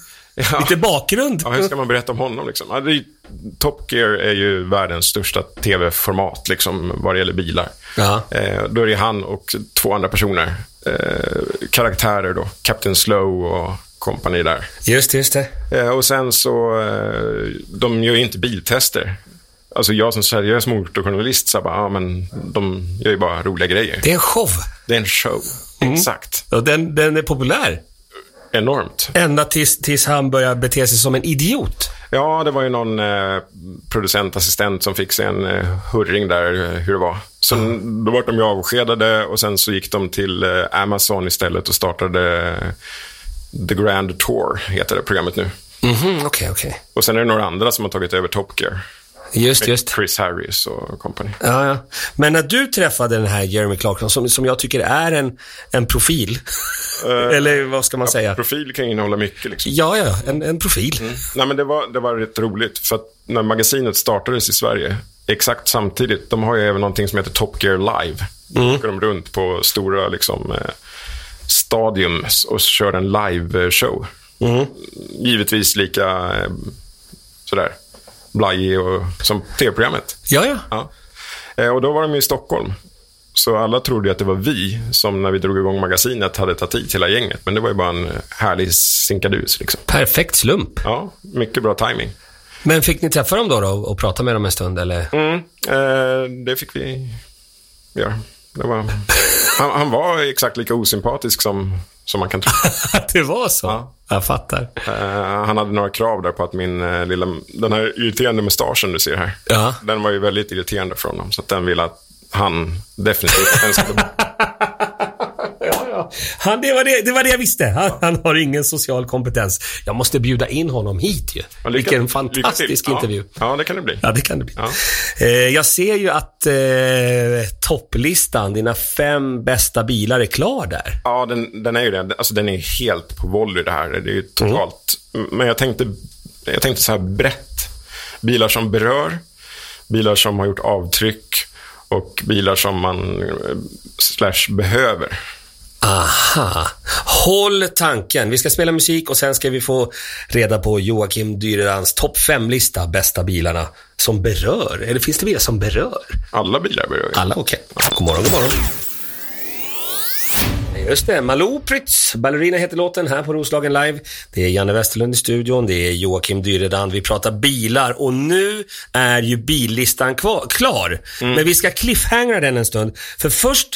Speaker 2: Ja.
Speaker 1: lite bakgrund?
Speaker 2: ja hur ska man berätta om honom? Liksom? Ja, det är, ju- Top Gear är ju världens största tv-format liksom, vad det gäller bilar.
Speaker 1: Ja.
Speaker 2: Eh, då är det han och två andra personer. Eh, karaktärer då, Captain Slow och kompani där.
Speaker 1: Just det, just det.
Speaker 2: Eh, och sen så, eh, de gör ju inte biltester. Alltså jag som seriös motorjournalist, så bara, ja men de gör ju bara roliga grejer.
Speaker 1: Det är en show.
Speaker 2: Det är en show. Exakt.
Speaker 1: Och den, den är populär.
Speaker 2: Enormt.
Speaker 1: Ända tills, tills han börjar bete sig som en idiot.
Speaker 2: Ja, det var ju någon eh, producentassistent som fick sig en eh, hurring där, eh, hur det var. Så Då var de ju avskedade och sen så gick de till eh, Amazon istället och startade eh, The Grand Tour, heter det programmet nu.
Speaker 1: Mhm, okej, okej.
Speaker 2: Och sen är det några andra som har tagit över Top Gear.
Speaker 1: Just, just.
Speaker 2: Chris Harris och company.
Speaker 1: Ja, ja. Men när du träffade den här Jeremy Clarkson, som, som jag tycker är en, en profil,
Speaker 2: Eh.
Speaker 1: eller vad ska man säga?
Speaker 2: Profil kan ju innehålla mycket. Liksom.
Speaker 1: Ja, ja, en, en profil.
Speaker 2: Nej, men det, var, det var rätt roligt, för att när magasinet startades i Sverige, exakt samtidigt, de har ju även någonting som heter Top Gear Live. Då åker de runt på stora liksom, eh, stadium och kör en live-show.
Speaker 1: Mm.
Speaker 2: Givetvis lika eh, sådär blajig och, som tv-programmet.
Speaker 1: Ja, ja.
Speaker 2: Ja. Eh, Och då var de ju i Stockholm. Så alla trodde ju att det var vi som när vi drog igång magasinet hade tagit hit hela gänget. Men det var ju bara en härlig sinkadus. Liksom.
Speaker 1: Perfekt slump.
Speaker 2: Ja, mycket bra timing.
Speaker 1: Men fick ni träffa dem då, då och prata med dem en stund, eller?
Speaker 2: Mm, eh, det fick vi göra. Det var... han, han var exakt lika osympatisk som, som man kan tro.
Speaker 1: Att det var så?
Speaker 2: Ja.
Speaker 1: Jag fattar.
Speaker 2: Eh, han hade några krav där på att min eh, lilla... Den här irriterande mustaschen du ser här.
Speaker 1: Ja.
Speaker 2: Den var ju väldigt irriterande för honom. Så att den ville att han definitivt den skulle bort.
Speaker 1: Han, det, var det, det var det jag visste. Han, han har ingen social kompetens. Jag måste bjuda in honom hit ju.
Speaker 2: Ja, lycka-
Speaker 1: Vilken
Speaker 2: lycka till.
Speaker 1: fantastisk intervju.
Speaker 2: Ja, ja, det kan det bli.
Speaker 1: Ja, det kan det bli.
Speaker 2: Ja.
Speaker 1: Eh, jag ser ju att eh, topplistan, dina fem bästa bilar, är klar där.
Speaker 2: Ja, den, den är ju det. Alltså, den är helt på volley det här. Det är ju
Speaker 1: Mm.
Speaker 2: totalt. Men jag tänkte, jag tänkte så här brett. Bilar som berör, bilar som har gjort avtryck och bilar som man eh, slash behöver.
Speaker 1: Aha. Håll tanken. Vi ska spela musik och sen ska vi få reda på Joakim Dyrerans topp fem-lista, bästa bilarna, som berör. Eller finns det bilar som berör?
Speaker 2: Alla bilar berör. ju.
Speaker 1: Alla okej. God morgon, god morgon. Just det, Malou Prytz. Ballerina heter låten här på Roslagen Live. Det är Janne Westerlund i studion, det är Joakim Dyredand. Vi pratar bilar och nu är ju billistan kvar, klar. Men vi ska cliffhangra den en stund. För först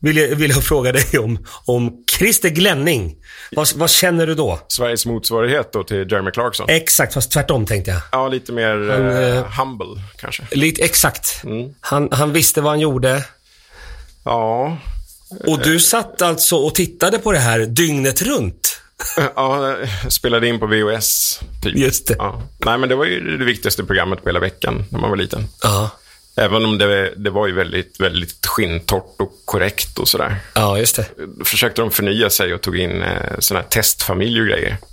Speaker 1: vill jag, vill jag fråga dig om, om Christer Glenning. Vad, vad känner du då?
Speaker 2: Sveriges motsvarighet då till Jeremy Clarkson.
Speaker 1: Exakt, fast tvärtom tänkte jag.
Speaker 2: Ja, lite mer eh, humble kanske.
Speaker 1: Lite exakt. Han, han visste vad han gjorde.
Speaker 2: Ja,
Speaker 1: Och du satt alltså och tittade på det här dygnet runt?
Speaker 2: ja, eh, spelade in på VHS. Typ.
Speaker 1: Just det.
Speaker 2: Ja. Nej, men det var ju det viktigaste programmet på hela veckan när man var liten.
Speaker 1: Ja,
Speaker 2: Även om det, det var ju väldigt, väldigt skinntort och korrekt och sådär.
Speaker 1: ja just det.
Speaker 2: Då försökte de förnya sig och tog in eh, sådana här testfamiljer och grejer.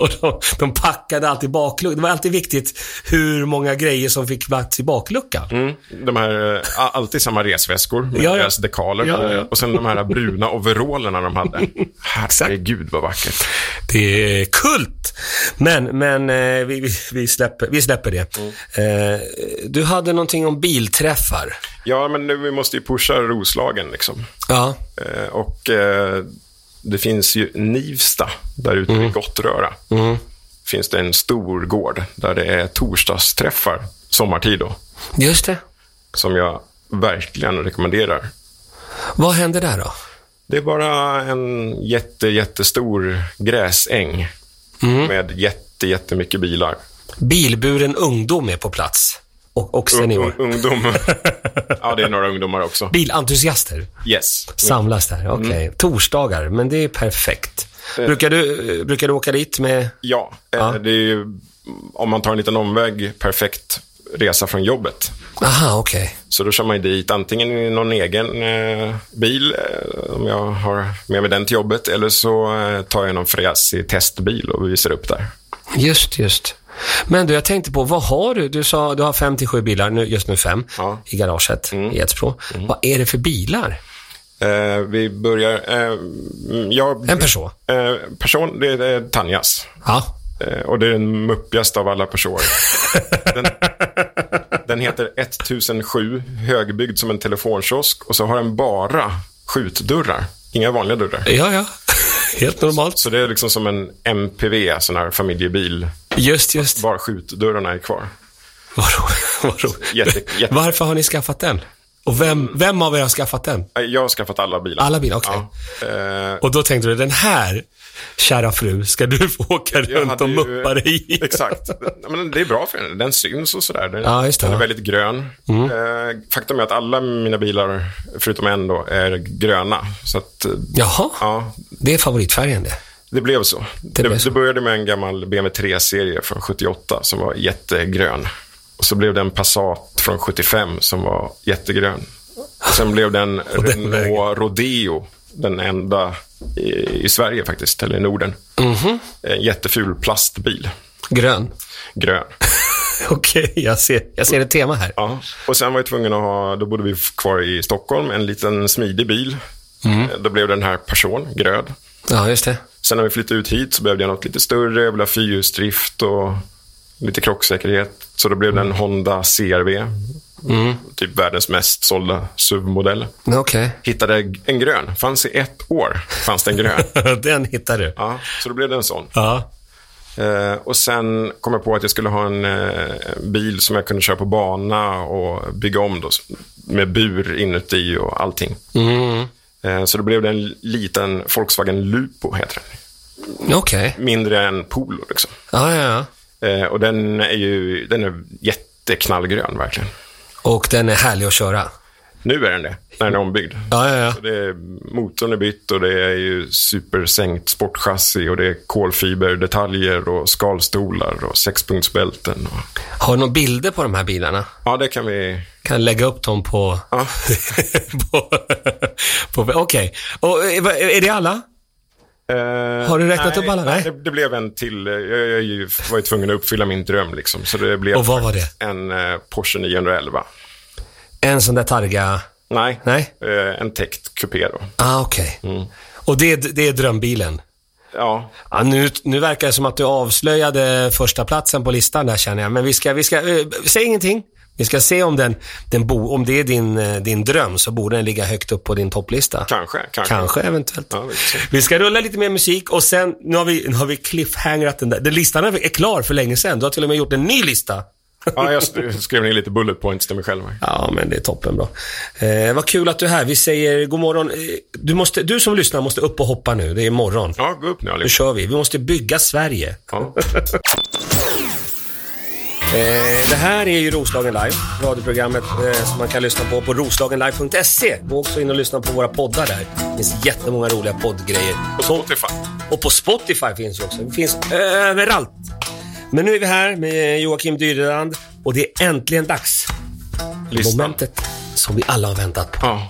Speaker 1: Och de, de packade alltid bakluckan. Det var alltid viktigt hur många grejer som fick plats i bakluckan.
Speaker 2: Mm. De här, eh, a- alltid samma resväskor med
Speaker 1: Ja, ja.
Speaker 2: deras dekaler.
Speaker 1: Ja, ja, ja.
Speaker 2: Och sen de här bruna overallerna de hade. Herregud vad vackert.
Speaker 1: Det är kult! Men, men eh, vi, vi- vi, släpper, vi släpper det. Eh, Du hade någonting om bilträffar.
Speaker 2: Ja, men nu, vi måste ju pusha Roslagen liksom.
Speaker 1: Ja.
Speaker 2: Eh, och eh, det finns ju Nivsta där ute
Speaker 1: Mm.
Speaker 2: i Gottröra. Finns det en stor gård där det är torsdagsträffar sommartid då.
Speaker 1: Just det.
Speaker 2: som jag verkligen rekommenderar.
Speaker 1: Vad hände där då?
Speaker 2: Det är bara en jätte, jättestor gräsäng med jätte, jättemycket bilar.
Speaker 1: Bilburen ungdom är på plats. Och, och senior.
Speaker 2: Un- ungdom. ja, det är några ungdomar också.
Speaker 1: Bilentusiaster.
Speaker 2: Yes.
Speaker 1: Samlas där, okej.
Speaker 2: Mm.
Speaker 1: Torsdagar, men det är perfekt. Brukar du, eh, brukar du åka dit med...
Speaker 2: Ja, eh, det är ju, om man tar en liten omväg, perfekt resa från jobbet.
Speaker 1: Aha, okej.
Speaker 2: Så då kör man ju dit antingen i någon egen eh, bil, eh, om jag har med mig den till jobbet, eller så eh, tar jag någon fräsig testbil och visar upp där.
Speaker 1: Just, just. Men du, jag tänkte på, vad har du? Du sa du har fem till sju bilar, nu, just nu fem,
Speaker 2: Ja. Mm.
Speaker 1: i garaget i Edsbro. Vad är det för bilar?
Speaker 2: Eh, vi börjar... Eh, jag,
Speaker 1: En person?
Speaker 2: eh, person, det är, det är eh, Tanjas.
Speaker 1: Ja.
Speaker 2: Eh, och det är den muppigaste av alla personer. Den, den heter 1007, högbyggd som en telefonkiosk. Och så har den bara skjutdörrar. Inga vanliga dörrar.
Speaker 1: Ja, ja. Helt normalt.
Speaker 2: Så det är liksom som en MPV, sån här familjebil.
Speaker 1: Just, just.
Speaker 2: Bara skjutdörrarna är kvar.
Speaker 1: Vad roligt. Vad roligt.
Speaker 2: Jätte- jätte-
Speaker 1: Varför har ni skaffat den? Och vem, vem av er har skaffat den?
Speaker 2: Nej, Eh, Jag har skaffat alla bilar.
Speaker 1: Alla bilar, okej.
Speaker 2: Ja. Eh,
Speaker 1: Och då tänkte du, den här, kära fru, ska du få åka runt
Speaker 2: hade
Speaker 1: och
Speaker 2: ju-
Speaker 1: muppa dig i.
Speaker 2: Exakt. Ja, Men det är bra för den. Den syns och sådär. Den,
Speaker 1: Ja, just det. Mm.
Speaker 2: den är väldigt grön. Eh, faktum är att alla mina bilar, förutom en då, är gröna. Så att, eh,
Speaker 1: Jaha,
Speaker 2: ja,
Speaker 1: det är favoritfärgen det.
Speaker 2: det blev så. Det,
Speaker 1: blev
Speaker 2: det,
Speaker 1: så.
Speaker 2: började med en gammal BMW 3-serie från 78 som var jättegrön. Och så blev det en Passat från 75 som var jättegrön. Och sen blev den
Speaker 1: den vägen.
Speaker 2: Renault Rodeo, den enda i, i Sverige faktiskt, eller i Norden.
Speaker 1: Mhm.
Speaker 2: En jätteful plastbil,
Speaker 1: Grön.
Speaker 2: grön.
Speaker 1: Okej, jag, ser, jag ser ett tema här.
Speaker 2: Ja, och sen var jag tvungen att ha, då bodde vi kvar i Stockholm, en liten smidig bil. Eh, Då blev den här person, gröd.
Speaker 1: Ja, just det.
Speaker 2: Sen när vi flyttade ut hit så behövde jag något lite större, jag ville ha fyrhjulsdrift och lite krocksäkerhet. Så då blev det en Honda CRV, typ världens mest sålda SUV-modell.
Speaker 1: Ja, Okej.
Speaker 2: Hittade en grön, fanns i ett år, fanns det en grön.
Speaker 1: den hittar du.
Speaker 2: Ja, så då blev det en sån.
Speaker 1: Ja.
Speaker 2: Eh, och sen kom jag på att jag skulle ha en eh, bil som jag kunde köra på bana och bygga om då, s- med bur inuti och allting.
Speaker 1: Mm.
Speaker 2: Eh, så då blev det en liten Volkswagen Lupo, heter den.
Speaker 1: Okej.
Speaker 2: Mindre än Polo. Liksom.
Speaker 1: Ja, ja, ja.
Speaker 2: Eh, och den är ju den är jätteknallgrön, verkligen.
Speaker 1: Och den är härlig att köra.
Speaker 2: Nu är den det, när den är ombyggd.
Speaker 1: Ja, ja, ja.
Speaker 2: Så Det är, motorn är bytt och det är ju supersänkt sportchassi och det är kolfiberdetaljer och skalstolar och sexpunktsbälten. Och...
Speaker 1: Har du några bilder på de här bilarna?
Speaker 2: Ja, det kan vi
Speaker 1: Kan lägga upp dem på...
Speaker 2: Ja.
Speaker 1: på, på Okej. Och eh, vad- är det alla? Har du räknat
Speaker 2: Eh, nej,
Speaker 1: upp alla? Nej.
Speaker 2: Nej, det, det blev en till. eh, Jag, jag, jag var ju tvungen att uppfylla min dröm. Liksom, så det blev
Speaker 1: Och vad var det?
Speaker 2: en eh, Porsche 911.
Speaker 1: En sån där targa...
Speaker 2: Nej,
Speaker 1: Nej?
Speaker 2: Eh, en täckt kupé då.
Speaker 1: Ah, okej. Och det, är- det är drömbilen?
Speaker 2: Ja,
Speaker 1: Ja, nu, nu verkar det som att du avslöjade första platsen på listan där känner jag. Men vi ska, vi ska eh, säg ingenting. Vi ska se om, den, den bo, om det är din, eh, din dröm så borde den ligga högt upp på din topplista.
Speaker 2: kanske. Kanske.
Speaker 1: Kanske eventuellt.
Speaker 2: Ja, vi får se.
Speaker 1: vi ska rulla lite mer musik och sen, nu har vi, nu har vi cliffhangerat den där. Den listan är klar för länge sedan. Du har till och med gjort en ny lista.
Speaker 2: Ja, jag sk- skrev ner lite bullet points till mig själv. här.
Speaker 1: Ja, men det är toppen bra. Eh, vad kul att du är här. Vi säger god morgon. Eh, Du, måste, du som lyssnar måste upp och hoppa nu. Det är morgon.
Speaker 2: Ja, gå upp nu
Speaker 1: Nu
Speaker 2: allihopa.
Speaker 1: kör vi. Vi måste bygga Sverige.
Speaker 2: Ja.
Speaker 1: Eh, det här är ju Roslagen Live, radioprogrammet eh, som man kan lyssna på på roslagenlive.se. Gå också in och lyssna på våra poddar där. Det finns jättemånga roliga poddgrejer.
Speaker 2: På Spotify.
Speaker 1: Och på Spotify finns det också. Det finns överallt. Men nu är vi här med Joakim Dyrerand och det är äntligen dags.
Speaker 2: Listan.
Speaker 1: Momentet som vi alla har väntat på.
Speaker 2: Ja.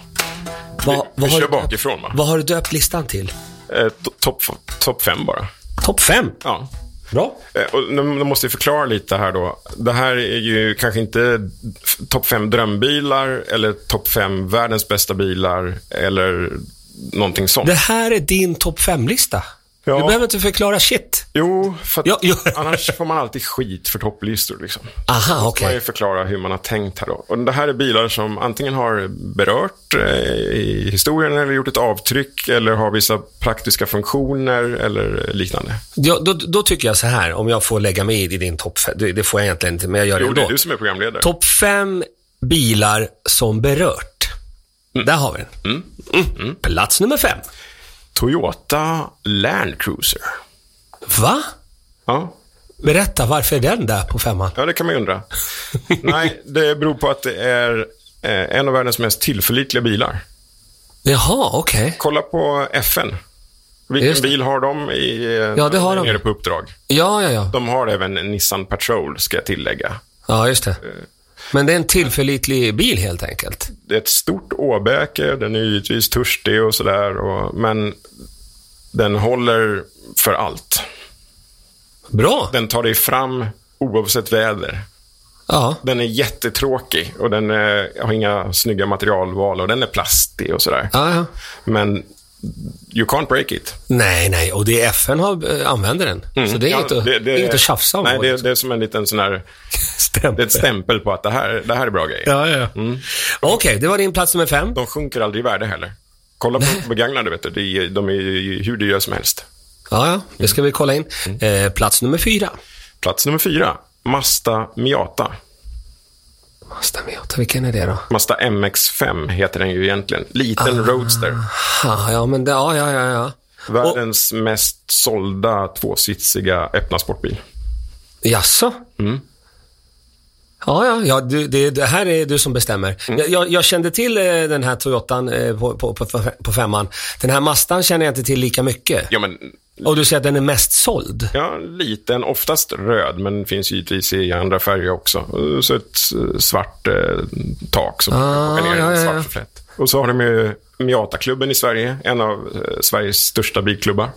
Speaker 1: Vad- vad
Speaker 2: vi
Speaker 1: har
Speaker 2: kör
Speaker 1: du döpt-
Speaker 2: bakifrån, va?
Speaker 1: Vad har du döpt listan till?
Speaker 2: Eh, to- Topp top fem bara.
Speaker 1: Topp fem.
Speaker 2: Ja.
Speaker 1: Bra.
Speaker 2: Eh, Och nu nu måste jag förklara lite här då. Det här är ju kanske inte f- topp fem drömbilar eller topp fem världens bästa bilar eller någonting sånt.
Speaker 1: Det här är din topp fem-lista.
Speaker 2: Ja.
Speaker 1: Du behöver inte förklara shit.
Speaker 2: Jo, för att
Speaker 1: Ja, ja.
Speaker 2: annars får man alltid skit för topplistor. Liksom.
Speaker 1: Aha,
Speaker 2: Man
Speaker 1: okej.
Speaker 2: ju förklara hur man har tänkt här då. Och det här är bilar som antingen har berört eh, i historien eller gjort ett avtryck eller har vissa praktiska funktioner eller liknande.
Speaker 1: Ja, då, då tycker jag så här, om jag får lägga mig i din topp fem. Det, det får jag egentligen inte, men jag gör
Speaker 2: Jo,
Speaker 1: det
Speaker 2: det är
Speaker 1: ändå.
Speaker 2: du som är programledare.
Speaker 1: Topp fem bilar som berört. Där har vi den. Mm. Plats nummer fem.
Speaker 2: Toyota Land Cruiser.
Speaker 1: Va?
Speaker 2: Ja,
Speaker 1: Berätta, varför är den där på femman?
Speaker 2: Ja, det kan man ju undra. Nej, det beror på att det är eh, en av världens mest tillförlitliga bilar.
Speaker 1: Jaha, okej.
Speaker 2: Kolla på FN. Vilken
Speaker 1: Just det.
Speaker 2: bil har de i, eh,
Speaker 1: Ja, det har de.
Speaker 2: nere på uppdrag?
Speaker 1: Ja, ja, ja.
Speaker 2: De har även en Nissan Patrol, ska jag tillägga.
Speaker 1: Ja, just det. Men det är en tillförlitlig bil helt enkelt.
Speaker 2: Det är ett stort åbäke, den är givetvis törstig och sådär, och- men den håller för allt.
Speaker 1: Bra.
Speaker 2: Den tar dig fram oavsett väder.
Speaker 1: Ja.
Speaker 2: Den är jättetråkig och den eh, har inga snygga materialval och den är plastig och sådär.
Speaker 1: ja, ja.
Speaker 2: Men you can't break it.
Speaker 1: Nej, nej. Och det är FN har, eh, använder den. Så det är
Speaker 2: Mm. Ja,
Speaker 1: inget att, det är inget att tjafsa om. liksom.
Speaker 2: Nej, det, det är som en liten sån här...
Speaker 1: Stämpel.
Speaker 2: Det Mm. är ett stämpel på att det här, det här är bra grejer.
Speaker 1: Ja, ja. ja. Okej, det var din plats nummer fem.
Speaker 2: De sjunker aldrig i värde heller. Kolla på begagnade, vet du. Det är- De är ju hur dyra som helst.
Speaker 1: Ja, ja, det ska vi kolla in.
Speaker 2: Mm.
Speaker 1: Eh, plats nummer fyra.
Speaker 2: Plats nummer fyra, Mazda Miata.
Speaker 1: Mazda Miata, vilken är det då?
Speaker 2: Mazda MX-5 heter den ju egentligen. Liten
Speaker 1: Ah.
Speaker 2: Roadster.
Speaker 1: Ha, ja, men det, ja, ja, ja. ja.
Speaker 2: Världens mest sålda tvåsitsiga öppna sportbil.
Speaker 1: Jaså?
Speaker 2: Mm.
Speaker 1: Ja, ja, ja du, det, det här är du som bestämmer.
Speaker 2: Mm.
Speaker 1: Jag, jag, jag kände till eh, den här Toyotan eh, på, på, på, på femman. Den här Mazdan känner jag inte till lika mycket.
Speaker 2: Ja, men
Speaker 1: Och du säger att den är mest såld.
Speaker 2: Ja, liten. Oftast röd, men finns givetvis i andra färger också. Så ett eh, svart eh, tak som
Speaker 1: Ah,
Speaker 2: ah, ner
Speaker 1: ja,
Speaker 2: en
Speaker 1: ja,
Speaker 2: svart
Speaker 1: ja.
Speaker 2: flätt. Och så har de ju Miata-klubben i Sverige, en av eh, Sveriges största bilklubbar.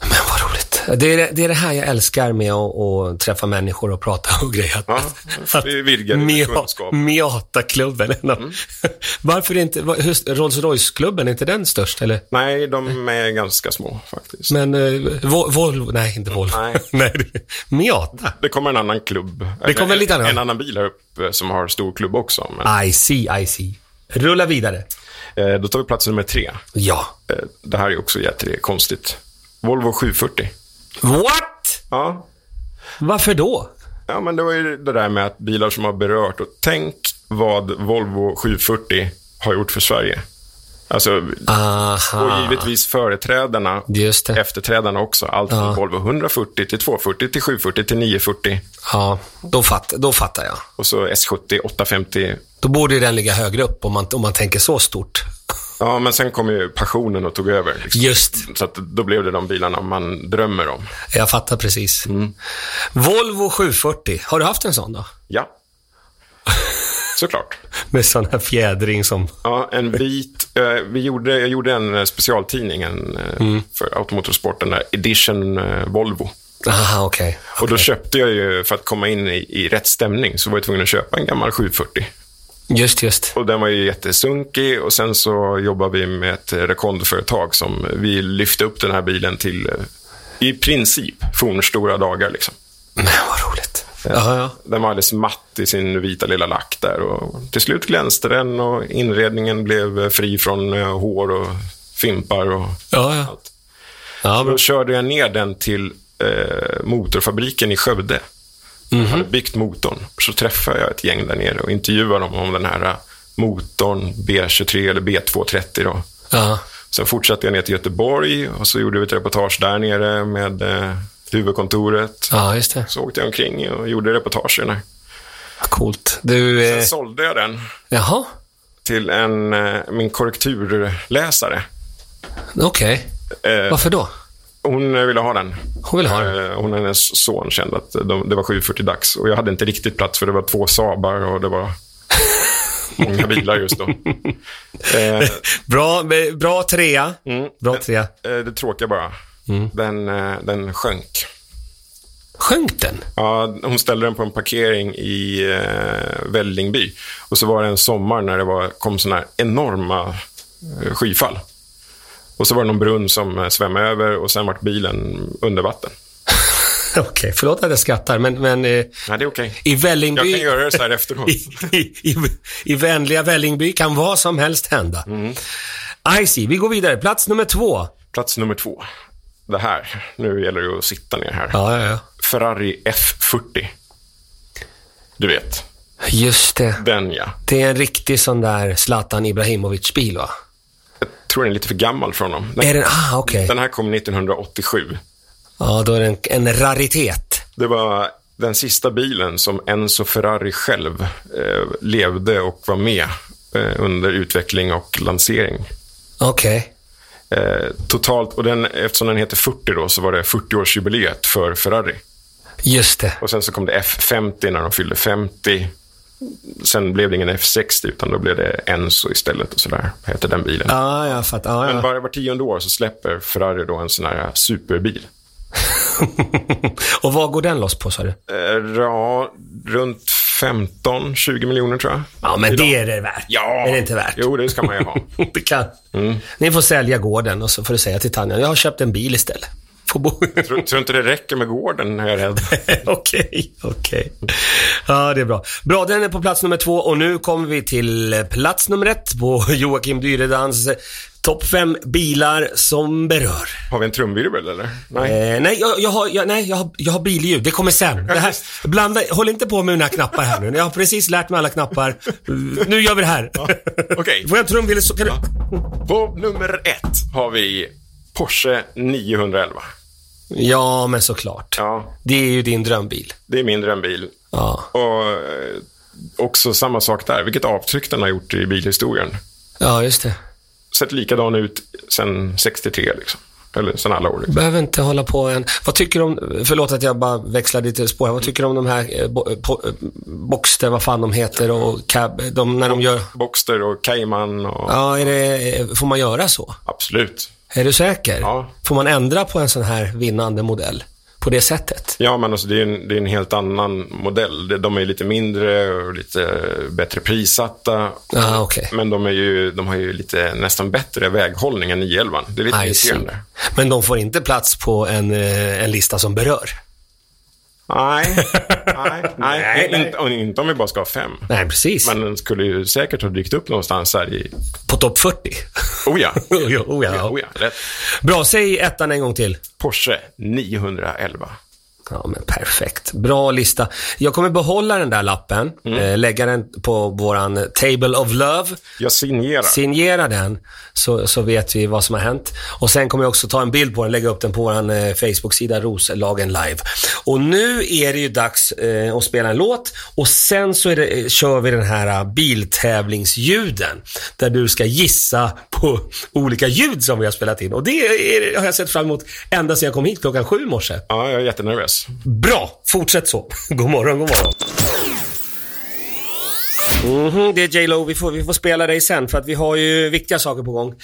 Speaker 1: Men vad roligt. Det är det, det, är det här jag älskar med att, att träffa människor och prata och grejer. Att,
Speaker 2: Ja, vi vidgar din
Speaker 1: Mia-
Speaker 2: kunskap. Mm.
Speaker 1: Miata-klubben. är en av- Varför är inte... vad- hur- Rolls-Royce-klubben, är inte den störst? Eller?
Speaker 2: Nej, de är ganska små faktiskt.
Speaker 1: Men eh, Vol- Volvo... Nej, inte Volvo.
Speaker 2: Nej.
Speaker 1: nej, det- Miata.
Speaker 2: Det kommer en annan klubb.
Speaker 1: Det kommer
Speaker 2: en,
Speaker 1: lite Ah. annan.
Speaker 2: en annan bil här uppe som har stor klubb också. Men,
Speaker 1: I see, I see. Rulla vidare.
Speaker 2: eh, då tar vi plats nummer tre.
Speaker 1: Ja.
Speaker 2: Eh, det här är också jättekonstigt. Volvo 740.
Speaker 1: What?
Speaker 2: Ja,
Speaker 1: Varför då?
Speaker 2: Ja, men det var ju det där med att bilar som har berört. Och tänk vad Volvo 740 har gjort för Sverige. Alltså, och
Speaker 1: Aha.
Speaker 2: givetvis företrädarna,
Speaker 1: Just det.
Speaker 2: efterträdarna också. Allt från Volvo 140 till 240 till 740 till 940.
Speaker 1: Ja, då, fatt, då fattar jag.
Speaker 2: Och så S70, 850.
Speaker 1: Då borde ju den ligga högre upp om man, om man tänker så stort.
Speaker 2: Ja, men sen kom ju passionen och tog över. Liksom.
Speaker 1: Just,
Speaker 2: Så att då blev det de bilarna man drömmer om.
Speaker 1: jag fattar precis. Volvo 740, har du haft en sån då?
Speaker 2: Ja, såklart.
Speaker 1: Med sån här fjädring som...
Speaker 2: Ja, en vit. eh, Vi gjorde, jag gjorde en eh, specialtidning en, eh, för automotorsporten, där, Edition eh, Volvo.
Speaker 1: Aha, okej.
Speaker 2: Och då köpte jag ju, för att komma in i, i rätt stämning, så var jag tvungen att köpa en gammal 740.
Speaker 1: Just, just.
Speaker 2: Och den var ju jättesunkig och sen så jobbade vi med ett eh, rekondföretag som vi lyfte upp den här bilen till eh, i princip fornstora dagar. Liksom.
Speaker 1: Men vad roligt. Ja, ja.
Speaker 2: Den var alldeles matt i sin vita lilla lack där och till slut glänste den och inredningen blev eh, fri från eh, hår och fimpar och
Speaker 1: Ja, ja.
Speaker 2: allt.
Speaker 1: ja
Speaker 2: Då
Speaker 1: men,
Speaker 2: körde jag ner den till eh, motorfabriken i Skövde. Jag hade byggt motorn. Så träffade jag ett gäng där nere och intervjuade dem om den här eh, motorn B23 eller B230. Då.
Speaker 1: ja.
Speaker 2: Sen fortsatte jag ner till Göteborg och så gjorde vi ett reportage där nere med eh, huvudkontoret.
Speaker 1: ja, just det.
Speaker 2: Så åkte jag omkring och gjorde reportagen. där.
Speaker 1: Coolt. Du, eh,
Speaker 2: Sen sålde jag den
Speaker 1: jaha,
Speaker 2: till en, eh, min korrekturläsare.
Speaker 1: okej.
Speaker 2: Eh,
Speaker 1: Varför då?
Speaker 2: hon eh, ville ha den.
Speaker 1: Hon vill ha den.
Speaker 2: Eh, Hon och hennes son kände att de, det var 7.40 dags och jag hade inte riktigt plats för det var två Saabar och det var många bilar just då. Eh, eh,
Speaker 1: Bra, bra trea. Bra trea.
Speaker 2: det tråkiga bara,
Speaker 1: Mm.
Speaker 2: den, eh, den sjönk.
Speaker 1: Sjönk den?
Speaker 2: Ja, hon ställde den på en parkering i eh, Vällingby och så var det en sommar när det var, kom sådana här enorma eh, skyfall. Och så var det någon brunn som eh, svämmade över och sen vart bilen under vatten.
Speaker 1: Okej, förlåt att jag skrattar, men, men eh,
Speaker 2: Nej, det är okej.
Speaker 1: i
Speaker 2: Jag kan
Speaker 1: Vällingby...
Speaker 2: göra det så här efteråt.
Speaker 1: I, i, I vänliga Vällingby kan vad som helst hända.
Speaker 2: Mm.
Speaker 1: I see. Vi går vidare. Plats nummer två.
Speaker 2: Plats nummer två. Det här. Nu gäller det att sitta ner här.
Speaker 1: Ja, ja, ja.
Speaker 2: Ferrari F40. Du vet,
Speaker 1: Just det.
Speaker 2: den ja.
Speaker 1: Det är en riktig sån där Zlatan Ibrahimovic-bil, va?
Speaker 2: Jag tror den är lite för gammal från dem. Den,
Speaker 1: Är den... Ah, okej.
Speaker 2: den här kom 1987.
Speaker 1: Ja, då är den en raritet.
Speaker 2: Det var den sista bilen som Enzo Ferrari själv eh, levde och var med eh, under utveckling och lansering.
Speaker 1: Okej.
Speaker 2: Eh, totalt, och den, eftersom den heter 40 då, så var det 40-årsjubileet för Ferrari.
Speaker 1: Just det.
Speaker 2: Och sen så kom det F50 när de fyllde 50. Sen blev det ingen F60 utan då blev det Enzo istället och sådär. Hette den bilen.
Speaker 1: Ja, jag fattar. Ja,
Speaker 2: Men
Speaker 1: ja.
Speaker 2: bara var tionde år så släpper Ferrari då en sån här superbil.
Speaker 1: Och vad går den loss på, sa du?
Speaker 2: Eh, ja, runt 15-20 miljoner tror jag.
Speaker 1: Ja, men det är det värt.
Speaker 2: Ja.
Speaker 1: Är det inte värt?
Speaker 2: Jo, Mm. det ska man ju ha.
Speaker 1: Det kan. Ni får sälja gården och så får du säga till Tanja, jag har köpt en bil istället. på bordet.
Speaker 2: Tror, tror inte det räcker med gården, är jag rädd.
Speaker 1: Okej, okej. Ja, det är bra. Bra, den är på plats nummer två och nu kommer vi till plats nummer ett på Joakim Dyredans topp fem bilar som berör.
Speaker 2: Har vi en trumvirvel eller? Nej.
Speaker 1: Eh, nej, jag, jag, har, jag, nej jag, har, jag har billjud. Det kommer sen. Det här, blanda, håll inte på med mina knappar här nu. Jag har precis lärt mig alla knappar. Nu gör vi det här.
Speaker 2: okej.
Speaker 1: Får jag en trumvirvel så kan du... Eh.
Speaker 2: På nummer ett har vi Porsche 911.
Speaker 1: Ja, men såklart.
Speaker 2: Ja,
Speaker 1: Det är ju din drömbil.
Speaker 2: det är mindre än bil.
Speaker 1: Ja.
Speaker 2: Och eh, också samma sak där. Vilket avtryck den har gjort i bilhistorien.
Speaker 1: ja, just det.
Speaker 2: Sett likadan ut sen 63 liksom. Eller sen alla år. Liksom.
Speaker 1: Behöver inte hålla på än. Vad tycker du om, förlåt att jag bara växlar lite spår här. Vad tycker du om de här eh, bo, eh, po, eh, Boxster, vad fan de heter och cab, de, när de gör...
Speaker 2: Boxster och Cayman och...
Speaker 1: Ja, är det, eh, får man göra så?
Speaker 2: Absolut.
Speaker 1: Är du säker?
Speaker 2: Ja.
Speaker 1: Får man ändra på en sån här vinnande modell på det sättet?
Speaker 2: Ja, men alltså, det, är en, det är en helt annan modell. Det- De är lite mindre och lite eh, bättre prissatta.
Speaker 1: Ja, okej.
Speaker 2: Men de, är ju, de har ju lite nästan bättre väghållning än 911. Det är lite
Speaker 1: I see.
Speaker 2: irriterande.
Speaker 1: Men de får inte plats på en, eh, en lista som berör?
Speaker 2: Nej, nej, nej.
Speaker 1: Nej, nej.
Speaker 2: Inte, och inte om vi bara ska ha fem.
Speaker 1: Nej, precis.
Speaker 2: Men den skulle ju säkert ha dykt upp någonstans här i...
Speaker 1: På topp 40?
Speaker 2: Oh ja.
Speaker 1: oh, ja, oh, ja.
Speaker 2: Oh ja, rätt.
Speaker 1: Bra, säg ettan en gång till.
Speaker 2: Porsche 911.
Speaker 1: Ja, men perfekt. Bra lista. Jag kommer behålla den där lappen, eh, lägga den på våran table of love,
Speaker 2: Jag signerar.
Speaker 1: signera den, så, så vet vi vad som har hänt. Och sen kommer jag också ta en bild på den, lägga upp den på våran eh, Facebook-sida Roslagen Live. Och nu är det ju dags eh, att spela en låt och sen så är det, eh, kör vi den här eh, biltävlingsljuden, där du ska gissa på olika ljud som vi har spelat in. Och det är, har jag sett fram emot ända sedan jag kom hit klockan sju i morse.
Speaker 2: Ja, jag är jättenervös.
Speaker 1: Bra! Fortsätt så. God morgon, god morgon. Mhm, det är J Lo. Vi får, vi får spela dig sen för att vi har ju viktiga saker på gång.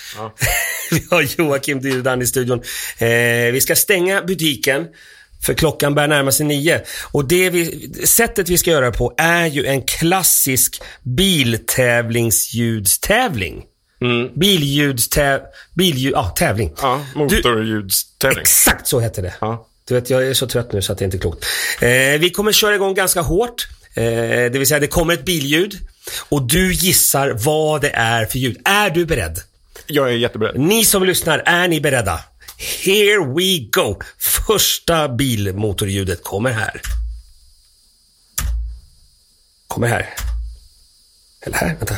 Speaker 1: vi har Joakim Dyrdan i studion. Eh, vi ska stänga butiken. För klockan börjar närma sig nio. Och det vi, sättet vi ska göra det på är ju en klassisk biltävlingsljudstävling. Mm. Billjudstäv... Billjud... Ja, tävling.
Speaker 2: Ja, motorljudstävling.
Speaker 1: Exakt så hette det.
Speaker 2: Ja.
Speaker 1: Du vet, jag är så trött nu så att det inte är klokt. Eh, vi kommer köra igång ganska hårt. Eh, det vill säga, det kommer ett billjud och du gissar vad det är för ljud. Är du beredd?
Speaker 2: Jag är jätteberedd.
Speaker 1: Ni som lyssnar, är ni beredda? Here we go! Första bilmotorljudet kommer här. Kommer här. Eller här, vänta.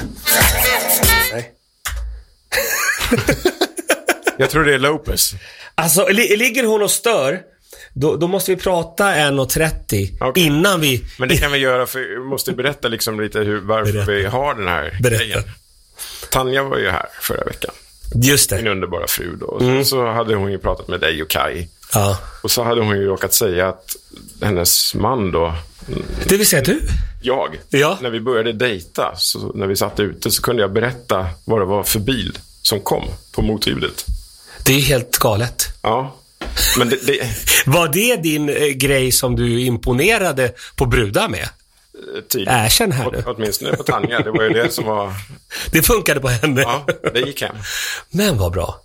Speaker 1: Nej.
Speaker 2: Jag tror det är Lopez.
Speaker 1: Alltså, li- ligger hon och stör, då, då måste vi prata 1.30
Speaker 2: Okej.
Speaker 1: innan vi...
Speaker 2: Men det kan vi göra, för vi måste berätta liksom lite hur, varför
Speaker 1: Berätta.
Speaker 2: vi har den här
Speaker 1: Berätta.
Speaker 2: grejen. Tanja var ju här förra veckan.
Speaker 1: Just
Speaker 2: Min
Speaker 1: det.
Speaker 2: underbara fru då. Och
Speaker 1: Mm.
Speaker 2: Så hade hon ju pratat med dig och Kai.
Speaker 1: Ja.
Speaker 2: Och så hade hon ju råkat säga att hennes man då,
Speaker 1: Det vill säga du.
Speaker 2: jag,
Speaker 1: Ja.
Speaker 2: när vi började dejta, så när vi satt ute, så kunde jag berätta vad det var för bil som kom på motljudet.
Speaker 1: Det är ju helt galet.
Speaker 2: Ja, men det, eh, det,
Speaker 1: Var det din eh, grej som du imponerade på brudar med?
Speaker 2: tidigt.
Speaker 1: Erkänn här nu.
Speaker 2: typ, Åt, åtminstone på Tanja, det var ju det som var,
Speaker 1: Det funkade på henne.
Speaker 2: ja, det gick hem.
Speaker 1: Men vad bra.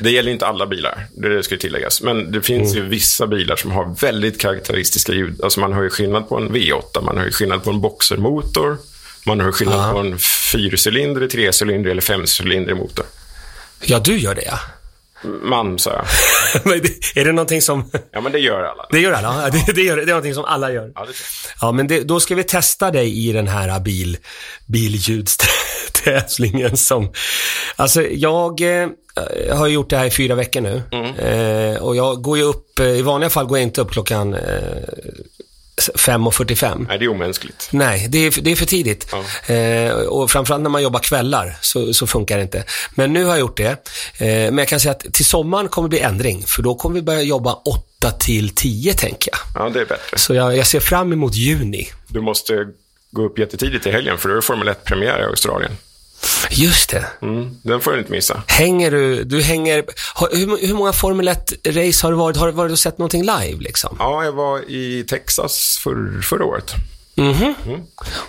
Speaker 2: Det gäller ju inte alla bilar, det det ska ju tilläggas. Men det finns
Speaker 1: Mm.
Speaker 2: ju vissa bilar som har väldigt karaktäristiska ljud. Alltså man hör ju skillnad på en V8, man hör ju skillnad på en boxermotor, man hör skillnad på en fyrcylindrig, trecylindrig eller femcylindrig motor.
Speaker 1: Ja, du gör det ja.
Speaker 2: Man, sa jag.
Speaker 1: Men det- är det någonting som...
Speaker 2: Ja, men det gör alla.
Speaker 1: Det gör alla. Ja, Det, det, gör, det är någonting som alla gör.
Speaker 2: Ja, det tror
Speaker 1: Ja, men det, då ska vi testa dig i den här bil, billjudstävlingen som... Alltså, jag eh, har ju gjort det här i fyra veckor nu. Eh, och jag går ju upp, eh, i vanliga fall går jag inte upp klockan eh, 5.45.
Speaker 2: Nej, det är omänskligt.
Speaker 1: Nej, det är, för- det är för tidigt. Eh, och framförallt när man jobbar kvällar så, så funkar det inte. Men nu har jag gjort det. Eh, men jag kan säga att till sommaren kommer det bli ändring, för då kommer vi börja jobba 8 till 10, tänker jag.
Speaker 2: Ja, det är bättre.
Speaker 1: Så jag, jag ser fram emot juni.
Speaker 2: Du måste gå upp jättetidigt i helgen, för då är det Formel 1-premiär i Australien.
Speaker 1: Just det.
Speaker 2: Mm, den får du inte missa.
Speaker 1: Hänger du, du hänger, har, hur, hur många Formel 1-race har det varit? Har du varit och sett någonting live liksom?
Speaker 2: Ja, jag var i Texas för, förra året.
Speaker 1: Mhm.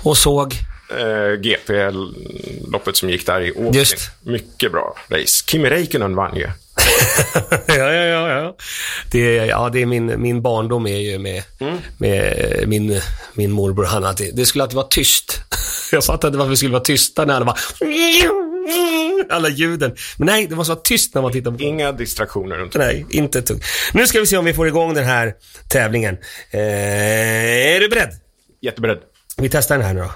Speaker 1: Och såg?
Speaker 2: eh, GP-loppet som gick där i Åby.
Speaker 1: Just.
Speaker 2: Mycket bra race. Kimi Räikkönen vann ju.
Speaker 1: ja, ja, ja, ja. Det, är- ja, det är min, min barndom är ju med, med eh, min, min morbror Hanna. Det, det skulle alltid vara tyst. Jag fattade inte varför det skulle vara tysta när han var alla ljuden. Men nej, det måste vara tyst när man tittar på
Speaker 2: Inga distraktioner runt
Speaker 1: Nej, inte ett dugg. Nu ska vi se om vi får igång den här tävlingen. Eh, är du beredd?
Speaker 2: Jätteberedd.
Speaker 1: Vi testar den här nu då.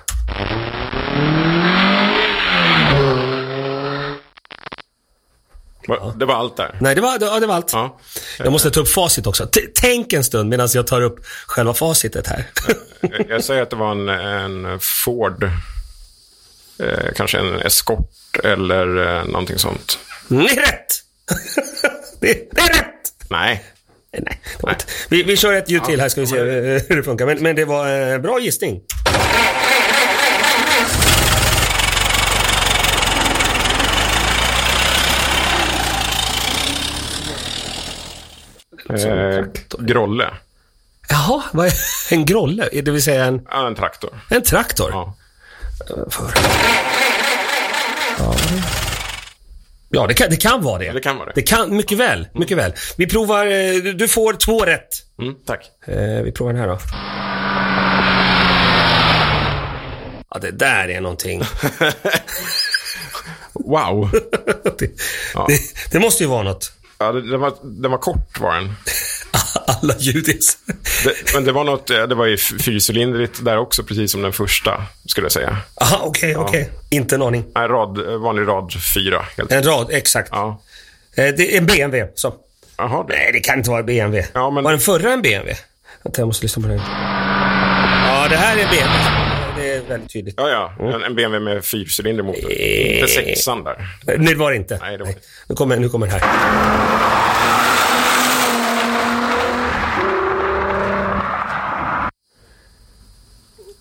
Speaker 2: Va- Det var allt där.
Speaker 1: Nej, det var, det, ja, det var allt.
Speaker 2: Ja.
Speaker 1: Jag måste ta upp facit också. T- tänk en stund medan jag tar upp själva facitet här.
Speaker 2: Eh, Jag, jag säger att det var en, en Ford. Eh, kanske en Escort eller eh, någonting sånt.
Speaker 1: Det är rätt! det, det är rätt!
Speaker 2: Nej.
Speaker 1: Nej, nej, det var inte. Vi, vi kör ett ljud till här ska vi se eh, hur det funkar. Men, men det var eh, bra gissning.
Speaker 2: Eh, Grolle.
Speaker 1: Jaha, vad är, en grolle? eh, Det vill säga en,
Speaker 2: Ja, en traktor.
Speaker 1: en traktor?
Speaker 2: Ja.
Speaker 1: För. Ja. Ja, det kan, det kan vara det.
Speaker 2: Det kan vara det.
Speaker 1: Det kan, mycket väl. Mycket väl. Vi provar, eh, du- du får två rätt.
Speaker 2: Mm, tack.
Speaker 1: Eh, vi provar den här då. Ja, det där är någonting.
Speaker 2: Wow.
Speaker 1: det, det, det måste ju vara något.
Speaker 2: Ja, det- den, var, den var kort var den.
Speaker 1: Alla ljud är... så-
Speaker 2: Det, men det var något, eh, det var ju f- fyrcylindrigt där också, precis som den första, skulle jag säga.
Speaker 1: Aha, okej, okej. Inte en aning.
Speaker 2: Nej, rad, eh, vanlig rad fyra. Helt.
Speaker 1: En rad, exakt.
Speaker 2: Ja.
Speaker 1: Eh, det är en BMW. Så.
Speaker 2: Jaha, det.
Speaker 1: Nej, det kan inte vara en BMW.
Speaker 2: Ja, men-
Speaker 1: Var den förra en BMW? Vänta, jag måste lyssna på den. Ja, det här är en BMW. Det är väldigt tydligt.
Speaker 2: Ja, ja. En, en BMW med fyrcylindermotor. Inte sexan där.
Speaker 1: Nej, det var det inte.
Speaker 2: Nej, det var det.
Speaker 1: Nu, kommer, nu kommer den här.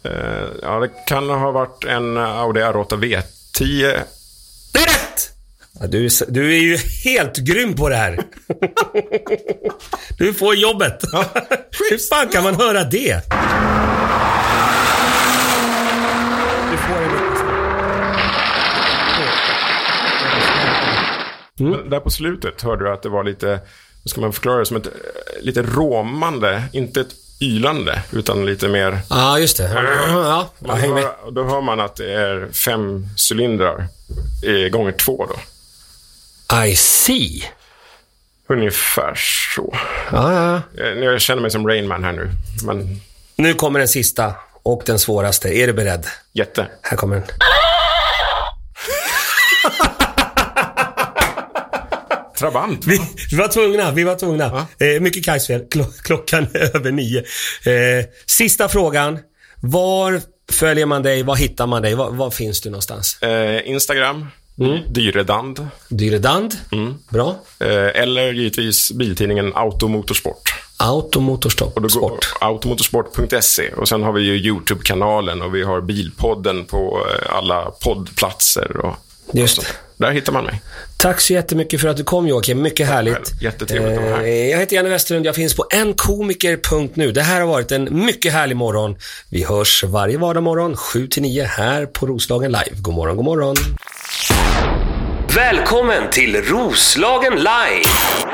Speaker 2: Eh, Ja, det kan ha varit en Audi R8 V10.
Speaker 1: Det är rätt! Ja, du, är s- du är ju helt grym på det här. du får jobbet. Hur fan kan man höra det? Du får en liten snabb. Mm.
Speaker 2: Men Där på slutet hörde du att det var lite, hur ska man förklara det, som ett eh, lite råmande, inte ett ylande, utan lite mer...
Speaker 1: Ja, just det. Ja, ja,
Speaker 2: Man
Speaker 1: häng med.
Speaker 2: hör, då hör man att det är fem cylindrar eh, gånger två då.
Speaker 1: I see.
Speaker 2: Ungefär så.
Speaker 1: Ja, ja, ja.
Speaker 2: Eh, nu- Jag känner mig som Rainman här nu. Men
Speaker 1: Nu kommer den sista och den svåraste. Är du beredd?
Speaker 2: jätte.
Speaker 1: Här kommer den.
Speaker 2: Trabant.
Speaker 1: Vi, vi var tvungna. Vi var tvungna. Eh, mycket Kajsfjäll. Klo- klockan är över nio. Eh, sista frågan. Var följer man dig? Var hittar man dig? Var, var finns du någonstans?
Speaker 2: Eh, Instagram,
Speaker 1: Mm.
Speaker 2: Dyredand.
Speaker 1: Dyredand.
Speaker 2: Mm.
Speaker 1: Bra.
Speaker 2: Eh, eller givetvis biltidningen Automotorsport. Och då
Speaker 1: Automotorsport.
Speaker 2: går-
Speaker 1: Sport.
Speaker 2: Automotorsport.se. E. Och sen har vi ju YouTube-kanalen och vi har Bilpodden på eh, alla poddplatser. Och,
Speaker 1: Just
Speaker 2: och sånt. Där hittar man mig.
Speaker 1: Tack så jättemycket för att du kom Joakim. Mycket härligt.
Speaker 2: själv. Jättetrevligt att vara här.
Speaker 1: Eh, Jag heter Janne Westerlund. Jag finns på enkomiker.nu. Det här har varit en mycket härlig morgon. Vi hörs varje vardagsmorgon 7-9 här på Roslagen Live. God morgon, god morgon. Välkommen till Roslagen Live!